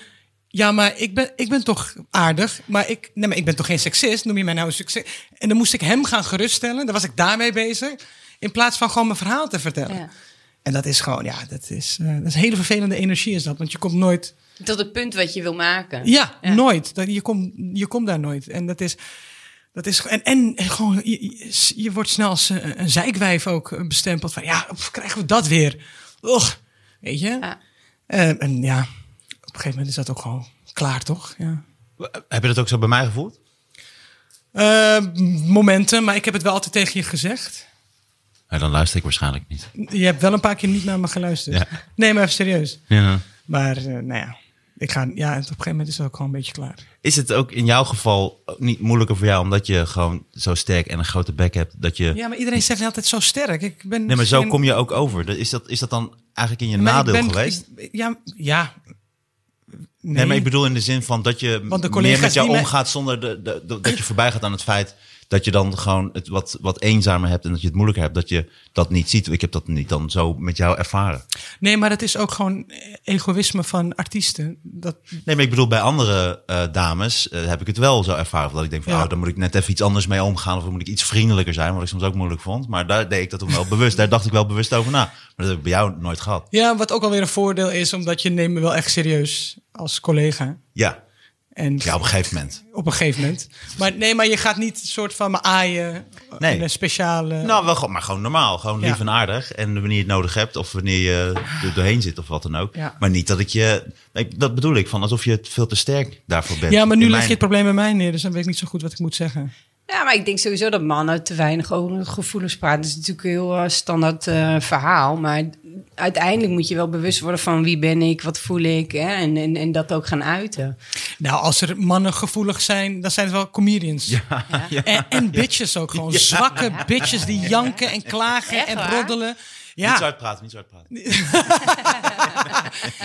Speaker 3: Ja, maar ik ben, ik ben toch aardig. Maar ik, nee, maar ik ben toch geen seksist? Noem je mij nou een succes? En dan moest ik hem gaan geruststellen. Dan was ik daarmee bezig. In plaats van gewoon mijn verhaal te vertellen.
Speaker 4: Ja.
Speaker 3: En dat is gewoon, ja, dat is, eh, dat is een hele vervelende energie is dat. Want je komt nooit
Speaker 4: Tot het punt wat je wil maken.
Speaker 3: ja,
Speaker 4: Ja.
Speaker 3: nooit. Dat, je komt je komt daar nooit. En dat is. Dat is en, en en gewoon, je, je- je wordt snel als een, een zeikwijf ook bestempeld. Van ja, pff, krijgen we dat weer? Och, weet je?
Speaker 4: Ja.
Speaker 3: Eh, en ja, op een gegeven moment is dat ook gewoon klaar, toch? Ja.
Speaker 2: Heb je dat ook zo bij mij gevoeld?
Speaker 3: Eh, momenten, maar ik heb het wel altijd tegen je gezegd.
Speaker 2: Ja, dan luister ik waarschijnlijk niet.
Speaker 3: Je hebt wel een paar keer niet naar me geluisterd.
Speaker 2: Ja.
Speaker 3: Nee, maar even serieus.
Speaker 2: Ja.
Speaker 3: Maar eh, nou ja, ik ga, ja, op een gegeven moment is dat ook gewoon een beetje klaar.
Speaker 2: Is het ook in jouw geval niet moeilijker voor jou omdat je gewoon zo sterk en een grote bek hebt dat je.
Speaker 3: Ja, maar iedereen zegt altijd zo sterk. Ik ben
Speaker 2: Nee, maar zo
Speaker 3: geen-
Speaker 2: kom je ook over. Dat- Is dat, is dat dan eigenlijk in je
Speaker 3: Maar ik
Speaker 2: nadeel
Speaker 3: ben-
Speaker 2: geweest?
Speaker 3: ik- ja, ja. Nee,
Speaker 2: Nee, maar ik bedoel in de zin van dat je
Speaker 3: Want de
Speaker 2: meer
Speaker 3: collega's
Speaker 2: met jou
Speaker 3: die mij-
Speaker 2: omgaat zonder de, de- de- dat je voorbij gaat aan het feit dat je dan gewoon het wat, wat eenzamer hebt en dat je het moeilijker hebt. Dat je dat niet ziet. Ik heb dat niet dan zo met jou ervaren.
Speaker 3: nee, maar dat is ook gewoon eh, egoïsme van artiesten. Dat,
Speaker 2: Nee, maar ik bedoel bij andere eh, dames eh, heb ik het wel zo ervaren. Dat ik denk van,
Speaker 3: Ja.
Speaker 2: oh, dan moet ik net even iets anders mee omgaan. Of dan moet ik iets vriendelijker zijn, wat ik soms ook moeilijk vond. Maar daar deed ik dat toen wel bewust. Daar dacht ik wel bewust over na. Maar dat heb ik bij jou nooit gehad.
Speaker 3: ja, wat ook alweer een voordeel is, omdat je neemt me wel echt serieus als collega.
Speaker 2: Ja,
Speaker 3: En
Speaker 2: ja op een gegeven moment.
Speaker 3: op een gegeven moment. Maar nee, maar je gaat niet soort van me aaien.
Speaker 2: Nee.
Speaker 3: In een speciale...
Speaker 2: Nou, wel, gewoon- maar gewoon normaal. Gewoon lief
Speaker 3: Ja.
Speaker 2: en aardig. En wanneer je het nodig hebt of wanneer je er doorheen zit of wat dan ook.
Speaker 3: Ja.
Speaker 2: Maar niet dat ik je... ik- Dat bedoel ik, van alsof je het veel te sterk daarvoor bent.
Speaker 3: ja, maar nu
Speaker 2: In
Speaker 3: leg je
Speaker 2: mijn-
Speaker 3: het probleem bij mij neer, dus dan weet ik niet zo goed wat ik moet zeggen.
Speaker 4: Ja, maar ik denk sowieso dat mannen te weinig over hun gevoelens praten. Dat is natuurlijk een heel eh, standaard eh, verhaal. Maar uiteindelijk moet je wel bewust worden van wie ben ik, wat voel ik. Hè? En, en, en dat ook gaan uiten.
Speaker 3: Nou, als er mannen gevoelig zijn, dan zijn het wel comedians.
Speaker 2: Ja, ja.
Speaker 3: En, en bitches ook gewoon. Zwakke bitches die janken en klagen
Speaker 4: Echt
Speaker 3: en
Speaker 4: waar?
Speaker 3: roddelen. Ja.
Speaker 2: Niet zo uitpraten, niet zo uitpraten.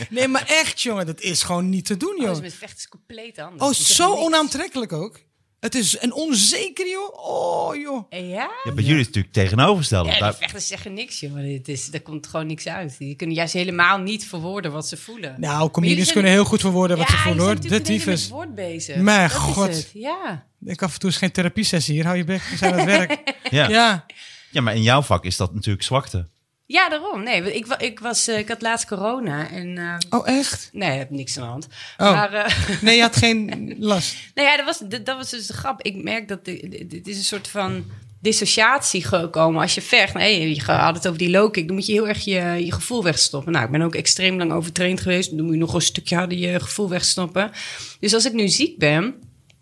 Speaker 3: Nee, maar echt, jongen, dat Oh, is gewoon niet te doen,
Speaker 4: Dat is
Speaker 3: joh.
Speaker 4: met vechten is compleet anders.
Speaker 3: Oh,
Speaker 4: Die zeggen
Speaker 3: zo
Speaker 4: niks.
Speaker 3: onaantrekkelijk ook. Het is een onzeker, joh. Oh, joh.
Speaker 4: Eh, Ja?
Speaker 2: Ja, bij jullie is het natuurlijk tegenovergesteld.
Speaker 4: Ja, die vechters zeggen niks, joh. Het is, daar komt gewoon niks uit. Die kunnen juist helemaal niet verwoorden wat ze voelen.
Speaker 3: Nou,
Speaker 4: Maar jullie
Speaker 3: comedians
Speaker 4: zijn-
Speaker 3: kunnen heel goed verwoorden wat
Speaker 4: ja,
Speaker 3: ze voelen,
Speaker 4: jullie
Speaker 3: hoor.
Speaker 4: zijn
Speaker 3: De
Speaker 4: natuurlijk hele
Speaker 3: tyfus.
Speaker 4: met woord bezig.
Speaker 3: Maar
Speaker 4: dat
Speaker 3: god.
Speaker 4: Is het. Ja.
Speaker 3: Ik af en toe is geen therapiesessie hier. Hou je bek, we zijn aan het werk.
Speaker 2: ja. Ja.
Speaker 3: (laughs) Ja.
Speaker 2: maar in jouw vak is dat natuurlijk zwakte.
Speaker 4: ja, daarom. Nee, want ik, wa- ik, was, eh, ik had laatst corona en... eh,
Speaker 3: Oh, echt?
Speaker 4: Nee, ik heb niks aan de hand.
Speaker 3: Oh.
Speaker 4: Maar
Speaker 3: (laughs)
Speaker 4: eh, (laughs)
Speaker 3: Nee, je had geen last.
Speaker 4: nou ja, dat was, dat, dat was dus de grap. Ik merk dat de- de- dit is een soort van dissociatie gekomen als je vecht. Nee, je had het over die low kick. Dan moet je heel erg je, je gevoel wegstoppen. Nou, ik ben ook extreem lang overtraind geweest. Dan moet je nog een stukje harder je gevoel wegstoppen. Dus als ik nu ziek ben,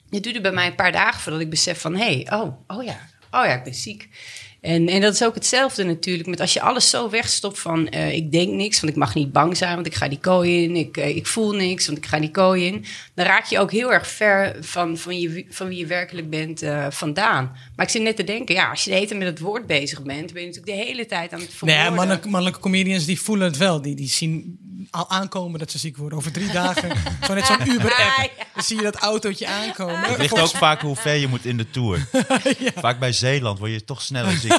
Speaker 4: het duurde bij mij een paar dagen voordat ik besef van... hé, hey, oh, oh ja, oh ja, ik ben ziek. En, en dat is ook hetzelfde natuurlijk met als je alles zo wegstopt van... eh, ik denk niks, want ik mag niet bang zijn, want ik ga die kooi in. Ik, eh, ik voel niks, want ik ga die kooi in. Dan raak je ook heel erg ver van, van, je, van wie je werkelijk bent eh, vandaan. Maar ik zit net te denken, ja, als je de hele tijd met het woord bezig bent... ben je natuurlijk de hele tijd aan het
Speaker 3: Nee,
Speaker 4: verwoorden.
Speaker 3: mannelijke, mannelijke comedians die voelen het wel. Die, die zien al aankomen dat ze ziek worden. Over drie (laughs) dagen. Zo net zo'n Uber-app. Dan zie je dat autootje aankomen.
Speaker 2: Het ligt ook vaak hoe ver je moet in de
Speaker 3: (laughs)
Speaker 2: Tour. Vaak bij Zeeland word je toch sneller ziek.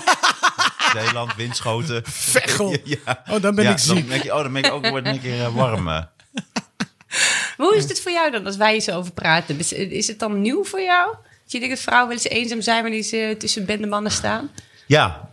Speaker 2: Zeeland, windschoten.
Speaker 3: Veghel.
Speaker 2: (laughs) Ja.
Speaker 3: Oh, dan ben
Speaker 2: Ja,
Speaker 3: ik ziek.
Speaker 2: Dan denk je, oh, dan ben ik ook word ik een keer eh, warm. eh.
Speaker 4: Maar hoe is dit voor jou dan, als wij zo over praten? Is- Is het dan nieuw voor jou? Dat je denkt dat vrouwen wel eens eenzaam zijn wanneer ze tussen bende mannen staan?
Speaker 2: Ja,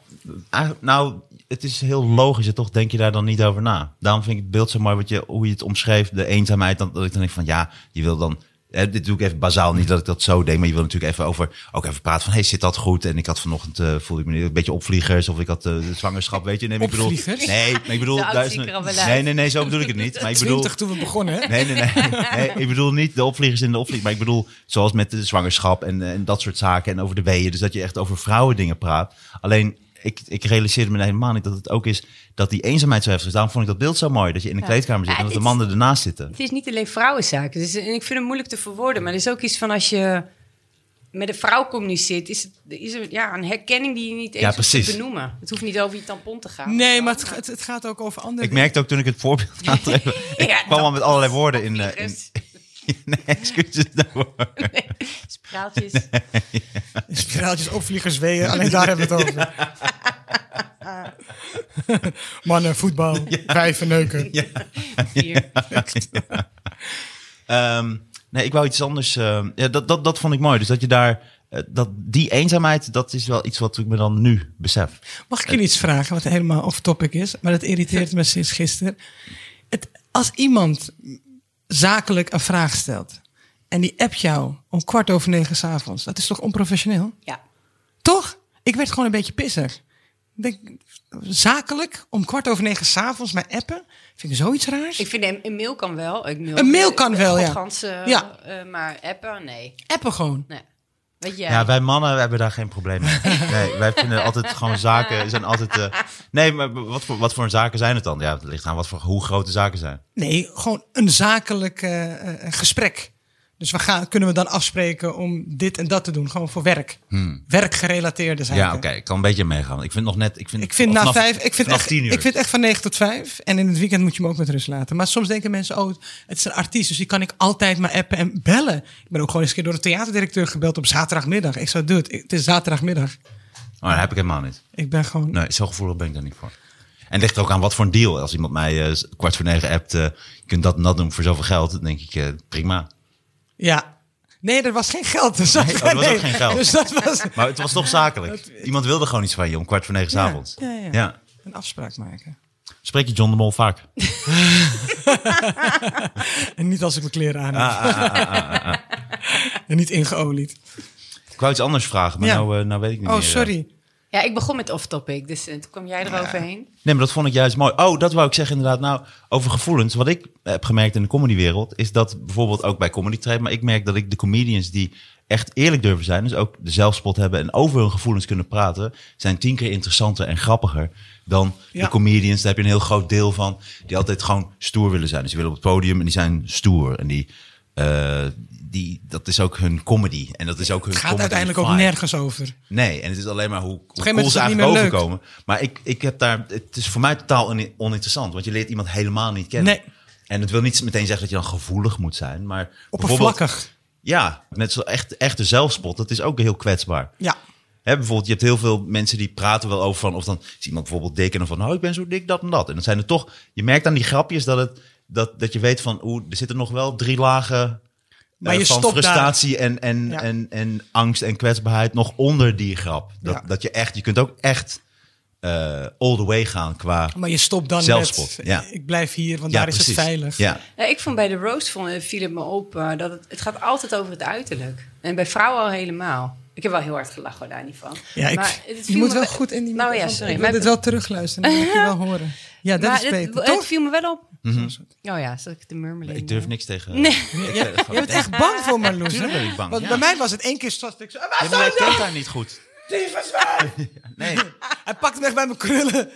Speaker 2: eh, nou, het is heel logisch. En toch denk je daar dan niet over na. Daarom vind ik het beeld zo mooi wat je, hoe je het omschreef. De eenzaamheid. Dan, dat ik dan denk van ja, je wil dan... hè, dit doe ik even bazaal, niet dat ik dat zo deed. Maar je wil natuurlijk even over, ook even praten van... hey, zit dat goed? En ik had vanochtend, eh, voelde ik me een beetje opvliegers... of ik had eh, de zwangerschap, weet je. Nee, maar ik bedoel,
Speaker 3: Opvliegers?
Speaker 2: nee, maar ik bedoel...
Speaker 4: De oud
Speaker 2: daar is
Speaker 4: ziet
Speaker 2: een-
Speaker 4: er al wel uit.
Speaker 2: nee, nee, nee, zo bedoel ik het niet. Maar ik bedoel,
Speaker 3: 20 toen we begonnen, hè?
Speaker 2: Nee, nee, nee,
Speaker 4: (laughs)
Speaker 2: nee. Ik bedoel niet de opvliegers in de opvlieg. Maar ik bedoel, zoals met de zwangerschap en, eh, en dat soort zaken. En over de weeën. Dus dat je echt over vrouwen dingen praat. Alleen, ik, ik realiseerde me helemaal niet dat het ook is dat die eenzaamheid zo heftig is. Daarom vond ik dat beeld zo mooi. Dat je in de kleedkamer zit
Speaker 4: Ja,
Speaker 2: en dat de
Speaker 4: het-
Speaker 2: mannen ernaast zitten.
Speaker 4: Het is niet alleen vrouwenzaak. Dus, en ik vind het moeilijk te verwoorden. Maar er is ook iets van als je met een vrouw communiceert... is, het, is er ja, een herkenning die je niet eens
Speaker 2: Ja,
Speaker 4: hoeft
Speaker 2: precies.
Speaker 4: te benoemen. Het hoeft niet over je tampon te gaan.
Speaker 3: Nee, maar het, het, het gaat ook over andere
Speaker 2: Ik merkte ook toen ik het voorbeeld aan het geven, Ik
Speaker 4: (laughs) Ja,
Speaker 2: kwam al met allerlei woorden in. eh, in
Speaker 4: Vliegers,
Speaker 2: nee, excuses daarvoor.
Speaker 4: (laughs) spraaltjes.
Speaker 3: (laughs) Spiraaltjes, opvliegers, weeën. Alleen daar hebben we het over. (laughs) Mannen, (laughs) voetbal, wijven, neuken.
Speaker 2: (laughs)
Speaker 4: Hier.
Speaker 2: Ehm, nee, ik wou iets anders. ehm, ja, dat, dat, dat vond ik mooi. Dus dat je daar. eh, Dat, die eenzaamheid, dat is wel iets wat ik me dan nu besef.
Speaker 3: Mag ik je iets vragen wat helemaal off-topic is? Maar dat irriteert me sinds gisteren. Het, als iemand zakelijk een vraag stelt en die appt jou om kwart over negen s'avonds, dat is toch onprofessioneel?
Speaker 4: Ja.
Speaker 3: Toch? Ik werd gewoon een beetje pissig. Ik denk, zakelijk om kwart over negen s'avonds mij appen, vind ik zoiets raars.
Speaker 4: Ik vind een, een mail kan wel. Ik mail,
Speaker 3: Een mail kan wel, ja.
Speaker 4: Godgans, eh,
Speaker 3: Ja.
Speaker 4: eh, maar appen, nee.
Speaker 3: appen gewoon.
Speaker 4: nee. Weet jij?
Speaker 2: Ja, wij mannen hebben daar geen probleem
Speaker 3: (laughs)
Speaker 2: mee. Nee, wij vinden altijd gewoon zaken zijn altijd. eh, nee, maar wat voor, wat voor zaken zijn het dan? Ja, het ligt aan wat voor, hoe grote zaken zijn.
Speaker 3: Nee, gewoon een zakelijk eh, eh, gesprek. Dus we gaan, kunnen we dan afspreken om dit en dat te doen, gewoon voor werk. Werkgerelateerde zaken.
Speaker 2: Hmm. Ja, oké, ik kan een beetje meegaan. Ik vind nog net. Ik vind,
Speaker 3: Ik vind na
Speaker 2: vanaf-
Speaker 3: vijf, ik vind,
Speaker 2: vanaf
Speaker 3: echt,
Speaker 2: tien uur.
Speaker 3: ik vind echt van negen tot vijf. En in het weekend moet je me ook met rust laten. Maar soms denken mensen, oh, het is een artiest, dus die kan ik altijd maar appen en bellen. Ik ben ook gewoon eens een keer door een theaterdirecteur gebeld op zaterdagmiddag. Ik zei, dude, het is zaterdagmiddag.
Speaker 2: Oh, dat heb ik helemaal niet.
Speaker 3: Ik ben gewoon...
Speaker 2: Nee, zo gevoelig ben ik daar niet voor. En het ligt er ook aan wat voor een deal. Als iemand mij eh, kwart voor negen appt, eh, je kunt dat en dat doen voor zoveel geld, dan denk ik eh, prima.
Speaker 3: Ja. Nee, er was geen geld. Dus dat,
Speaker 2: Nee, oh, er was ook
Speaker 3: nee.
Speaker 2: geen geld.
Speaker 3: (laughs) Dus dat was
Speaker 2: Maar het was
Speaker 3: (laughs)
Speaker 2: toch zakelijk. Iemand wilde gewoon iets van je om kwart voor negen 's
Speaker 3: Ja,
Speaker 2: avonds.
Speaker 3: ja, ja.
Speaker 2: ja.
Speaker 3: een afspraak maken.
Speaker 2: Spreek je John de Mol vaak?
Speaker 3: En niet als ik mijn kleren aan heb.
Speaker 2: Ah,
Speaker 3: (laughs) en niet ingeolied.
Speaker 2: Ik wou iets anders vragen, maar
Speaker 3: Ja.
Speaker 2: nou, eh, nou weet ik niet
Speaker 3: Oh,
Speaker 2: meer. eh.
Speaker 3: sorry.
Speaker 4: Ja, ik begon met off-topic, dus eh, toen kwam jij eroverheen.
Speaker 2: Nee, maar dat vond ik juist mooi. Oh, dat wou ik zeggen inderdaad. Nou, over gevoelens. Wat ik heb gemerkt in de comedywereld... is dat bijvoorbeeld ook bij comedy trade... maar ik merk dat ik de comedians die echt eerlijk durven zijn... dus ook de zelfspot hebben en over hun gevoelens kunnen praten... zijn tien keer interessanter en grappiger dan
Speaker 3: Ja.
Speaker 2: de comedians. Daar heb je een heel groot deel van... die altijd gewoon stoer willen zijn. Dus die willen op het podium en die zijn stoer. En die... eh, die, dat is ook hun comedy. En dat is ook hun
Speaker 3: Het gaat
Speaker 2: comedy
Speaker 3: uiteindelijk ook
Speaker 2: vibe.
Speaker 3: nergens over.
Speaker 2: Nee, en het is alleen maar hoe, hoe
Speaker 3: gegeven
Speaker 2: cool
Speaker 3: moment
Speaker 2: ze
Speaker 3: is het niet
Speaker 2: eigenlijk
Speaker 3: meer leuk.
Speaker 2: overkomen. Maar ik, ik heb daar, het is voor mij totaal on- oninteressant. Want je leert iemand helemaal niet kennen.
Speaker 3: Nee.
Speaker 2: En het wil niet meteen zeggen dat je dan gevoelig moet zijn. Maar bijvoorbeeld-
Speaker 3: Oppervlakkig.
Speaker 2: Ja, net zo echt, echte zelfspot. Dat is ook heel kwetsbaar.
Speaker 3: Ja.
Speaker 2: Hè, bijvoorbeeld, je hebt heel veel mensen die praten wel over van... of dan is iemand bijvoorbeeld dik en dan van... nou, ik ben zo dik, dat en dat. En dan zijn er toch... Je merkt aan die grapjes dat, het, dat, dat je weet van... oeh, er zitten nog wel drie lagen
Speaker 3: Maar
Speaker 2: eh,
Speaker 3: je
Speaker 2: van
Speaker 3: stopt daar.
Speaker 2: frustratie en, en,
Speaker 3: Ja.
Speaker 2: en, en angst en kwetsbaarheid nog onder die grap. Dat,
Speaker 3: Ja.
Speaker 2: dat je echt... Je kunt ook echt eh, all the way gaan qua...
Speaker 3: Maar je stopt dan
Speaker 2: Zelfspot,
Speaker 3: met,
Speaker 2: ja.
Speaker 3: ik blijf hier, want
Speaker 2: Ja,
Speaker 3: daar is
Speaker 2: precies.
Speaker 3: het veilig.
Speaker 2: Ja.
Speaker 4: Ja, ik vond bij de roast vond, eh, viel het me op eh, dat het, het gaat altijd over het uiterlijk. En bij vrouwen al helemaal. Ik heb wel heel hard gelachen hoor, daar niet van.
Speaker 3: Ja, ik,
Speaker 4: Maar het
Speaker 3: je
Speaker 4: viel
Speaker 3: moet
Speaker 4: me
Speaker 3: wel goed in die
Speaker 4: Nou ja,
Speaker 3: microfoon.
Speaker 4: sorry.
Speaker 3: Ik wil
Speaker 4: maar-
Speaker 3: dit wel terugluisteren, dan moet je wel horen. Ja, dat
Speaker 4: maar
Speaker 3: is
Speaker 4: het-
Speaker 3: beter,
Speaker 4: het,
Speaker 3: toch?
Speaker 4: viel me wel op.
Speaker 2: Mhm.
Speaker 4: Oh ja, zat ik de murmeling.
Speaker 2: Ik durf niks (laughs) tegen...
Speaker 4: Nee.
Speaker 2: Ik, eh,
Speaker 3: Je bent echt bang voor Marloes, hè?
Speaker 2: Tuurlijk ben ik bang,
Speaker 3: Want
Speaker 2: ja.
Speaker 3: bij mij was het één keer stond ik zo... "Ah, Waar
Speaker 2: Ja, maar
Speaker 3: zijn
Speaker 2: ik
Speaker 3: ze?
Speaker 2: (laughs) ken daar niet goed.
Speaker 3: Lieve zwijn!
Speaker 2: Nee.
Speaker 3: Hij pakt hem echt bij mijn krullen.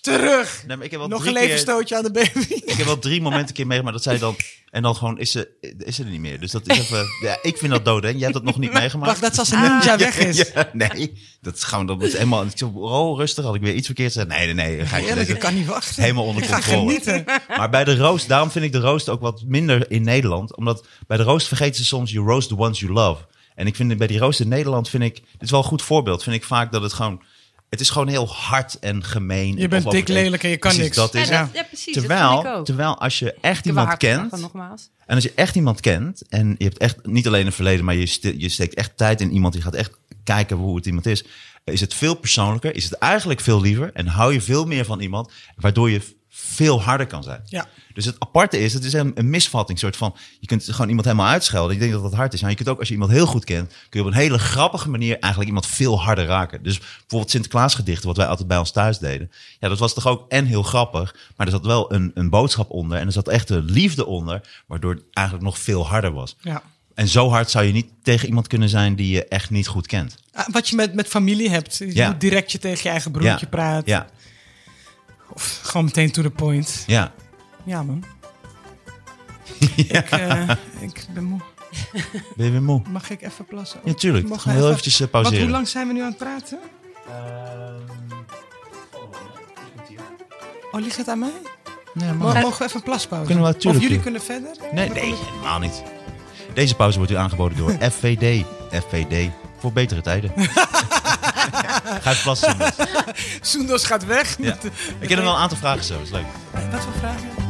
Speaker 3: terug.
Speaker 2: Nee, maar ik heb wel
Speaker 3: Nog een
Speaker 2: drie keer-
Speaker 3: leverstootje aan de baby.
Speaker 2: Ik heb wel drie momenten een keer meegemaakt dat zij dan... En dan gewoon is ze, is ze er niet meer. Dus dat is even... Ja, ik vind dat dood, hè? Jij hebt dat nog
Speaker 3: (laughs)
Speaker 2: niet meegemaakt.
Speaker 3: Wacht, dat is als een ninja weg is.
Speaker 2: (laughs) Ja, nee, dat is gewoon... Dat is helemaal... Oh, rustig. Had ik weer iets verkeerd gezegd? Nee, nee, nee. Ga je
Speaker 3: Eerlijk, ik
Speaker 2: lekker.
Speaker 3: kan niet wachten.
Speaker 2: Helemaal onder
Speaker 3: ik ga
Speaker 2: controle.
Speaker 3: genieten.
Speaker 2: Maar bij de roast, daarom vind ik de roast ook wat minder in Nederland. Omdat bij de roast vergeten ze soms, you roast the ones you love. En ik vind bij die roast in Nederland, vind ik, dit is wel een goed voorbeeld. Vind ik vaak dat het gewoon, het is gewoon heel hard en gemeen.
Speaker 3: Je
Speaker 2: en
Speaker 3: bent dik,
Speaker 2: overdreven.
Speaker 3: lelijk en je kan
Speaker 2: Precies,
Speaker 3: niks.
Speaker 2: Dat
Speaker 4: Ja,
Speaker 2: is
Speaker 4: dat-
Speaker 2: het.
Speaker 4: ja, precies. dat vind ik
Speaker 2: Terwijl,
Speaker 4: ook.
Speaker 2: terwijl als je echt
Speaker 4: Ik heb
Speaker 2: iemand
Speaker 4: haar
Speaker 2: kent,
Speaker 4: getrokken, nogmaals.
Speaker 2: en als je echt iemand kent en je hebt echt niet alleen een verleden, maar je, ste- je steekt echt tijd in iemand, die gaat echt kijken hoe het iemand is, is het veel persoonlijker, is het eigenlijk veel liever en hou je veel meer van iemand, waardoor je v- veel harder kan zijn.
Speaker 3: Ja.
Speaker 2: Dus het aparte is, het is een, een misvatting, soort van, je kunt gewoon iemand helemaal uitschelden. Ik denk dat dat hard is. Maar je kunt ook, als je iemand heel goed kent, kun je op een hele grappige manier eigenlijk iemand veel harder raken. Dus bijvoorbeeld Sinterklaasgedichten, wat wij altijd bij ons thuis deden. Ja, dat was toch ook en heel grappig, maar er zat wel een, een boodschap onder en er zat echt een liefde onder, waardoor het eigenlijk nog veel harder was.
Speaker 3: Ja.
Speaker 2: En zo hard zou je niet tegen iemand kunnen zijn die je echt niet goed kent.
Speaker 3: Ah, Wat je met, met familie hebt.
Speaker 2: Ja.
Speaker 3: Hoe direct je tegen je eigen broertje
Speaker 2: ja.
Speaker 3: praat.
Speaker 2: Ja,
Speaker 3: Of gewoon meteen to the point.
Speaker 2: ja. (laughs)
Speaker 3: Ja, man. Ik, eh, ik ben moe.
Speaker 2: Ben je weer moe?
Speaker 3: Mag ik even plassen?
Speaker 2: Ja, tuurlijk.
Speaker 3: Mogen we
Speaker 2: Gewoon heel
Speaker 3: even-
Speaker 2: eventjes eh,
Speaker 3: Want
Speaker 2: pauzeren. Ehm,
Speaker 3: hoe lang zijn we nu aan het praten? Oh, ligt het aan mij?
Speaker 2: Nee,
Speaker 3: Mo-
Speaker 2: maar...
Speaker 3: Mogen we even een plaspauze?
Speaker 2: Kunnen we-
Speaker 3: of
Speaker 2: tuurlijk,
Speaker 3: jullie
Speaker 2: ja.
Speaker 3: kunnen verder?
Speaker 2: Nee, nee, helemaal niet. Deze pauze wordt u aangeboden (laughs) door FVD. FVD voor betere (laughs) tijden. Ga even plassen. Sundas.
Speaker 3: Soendos gaat weg.
Speaker 2: Ja.
Speaker 3: met de-
Speaker 2: Ik ken er wel een aantal vragen zo, is leuk.
Speaker 3: (laughs) Wat voor vragen?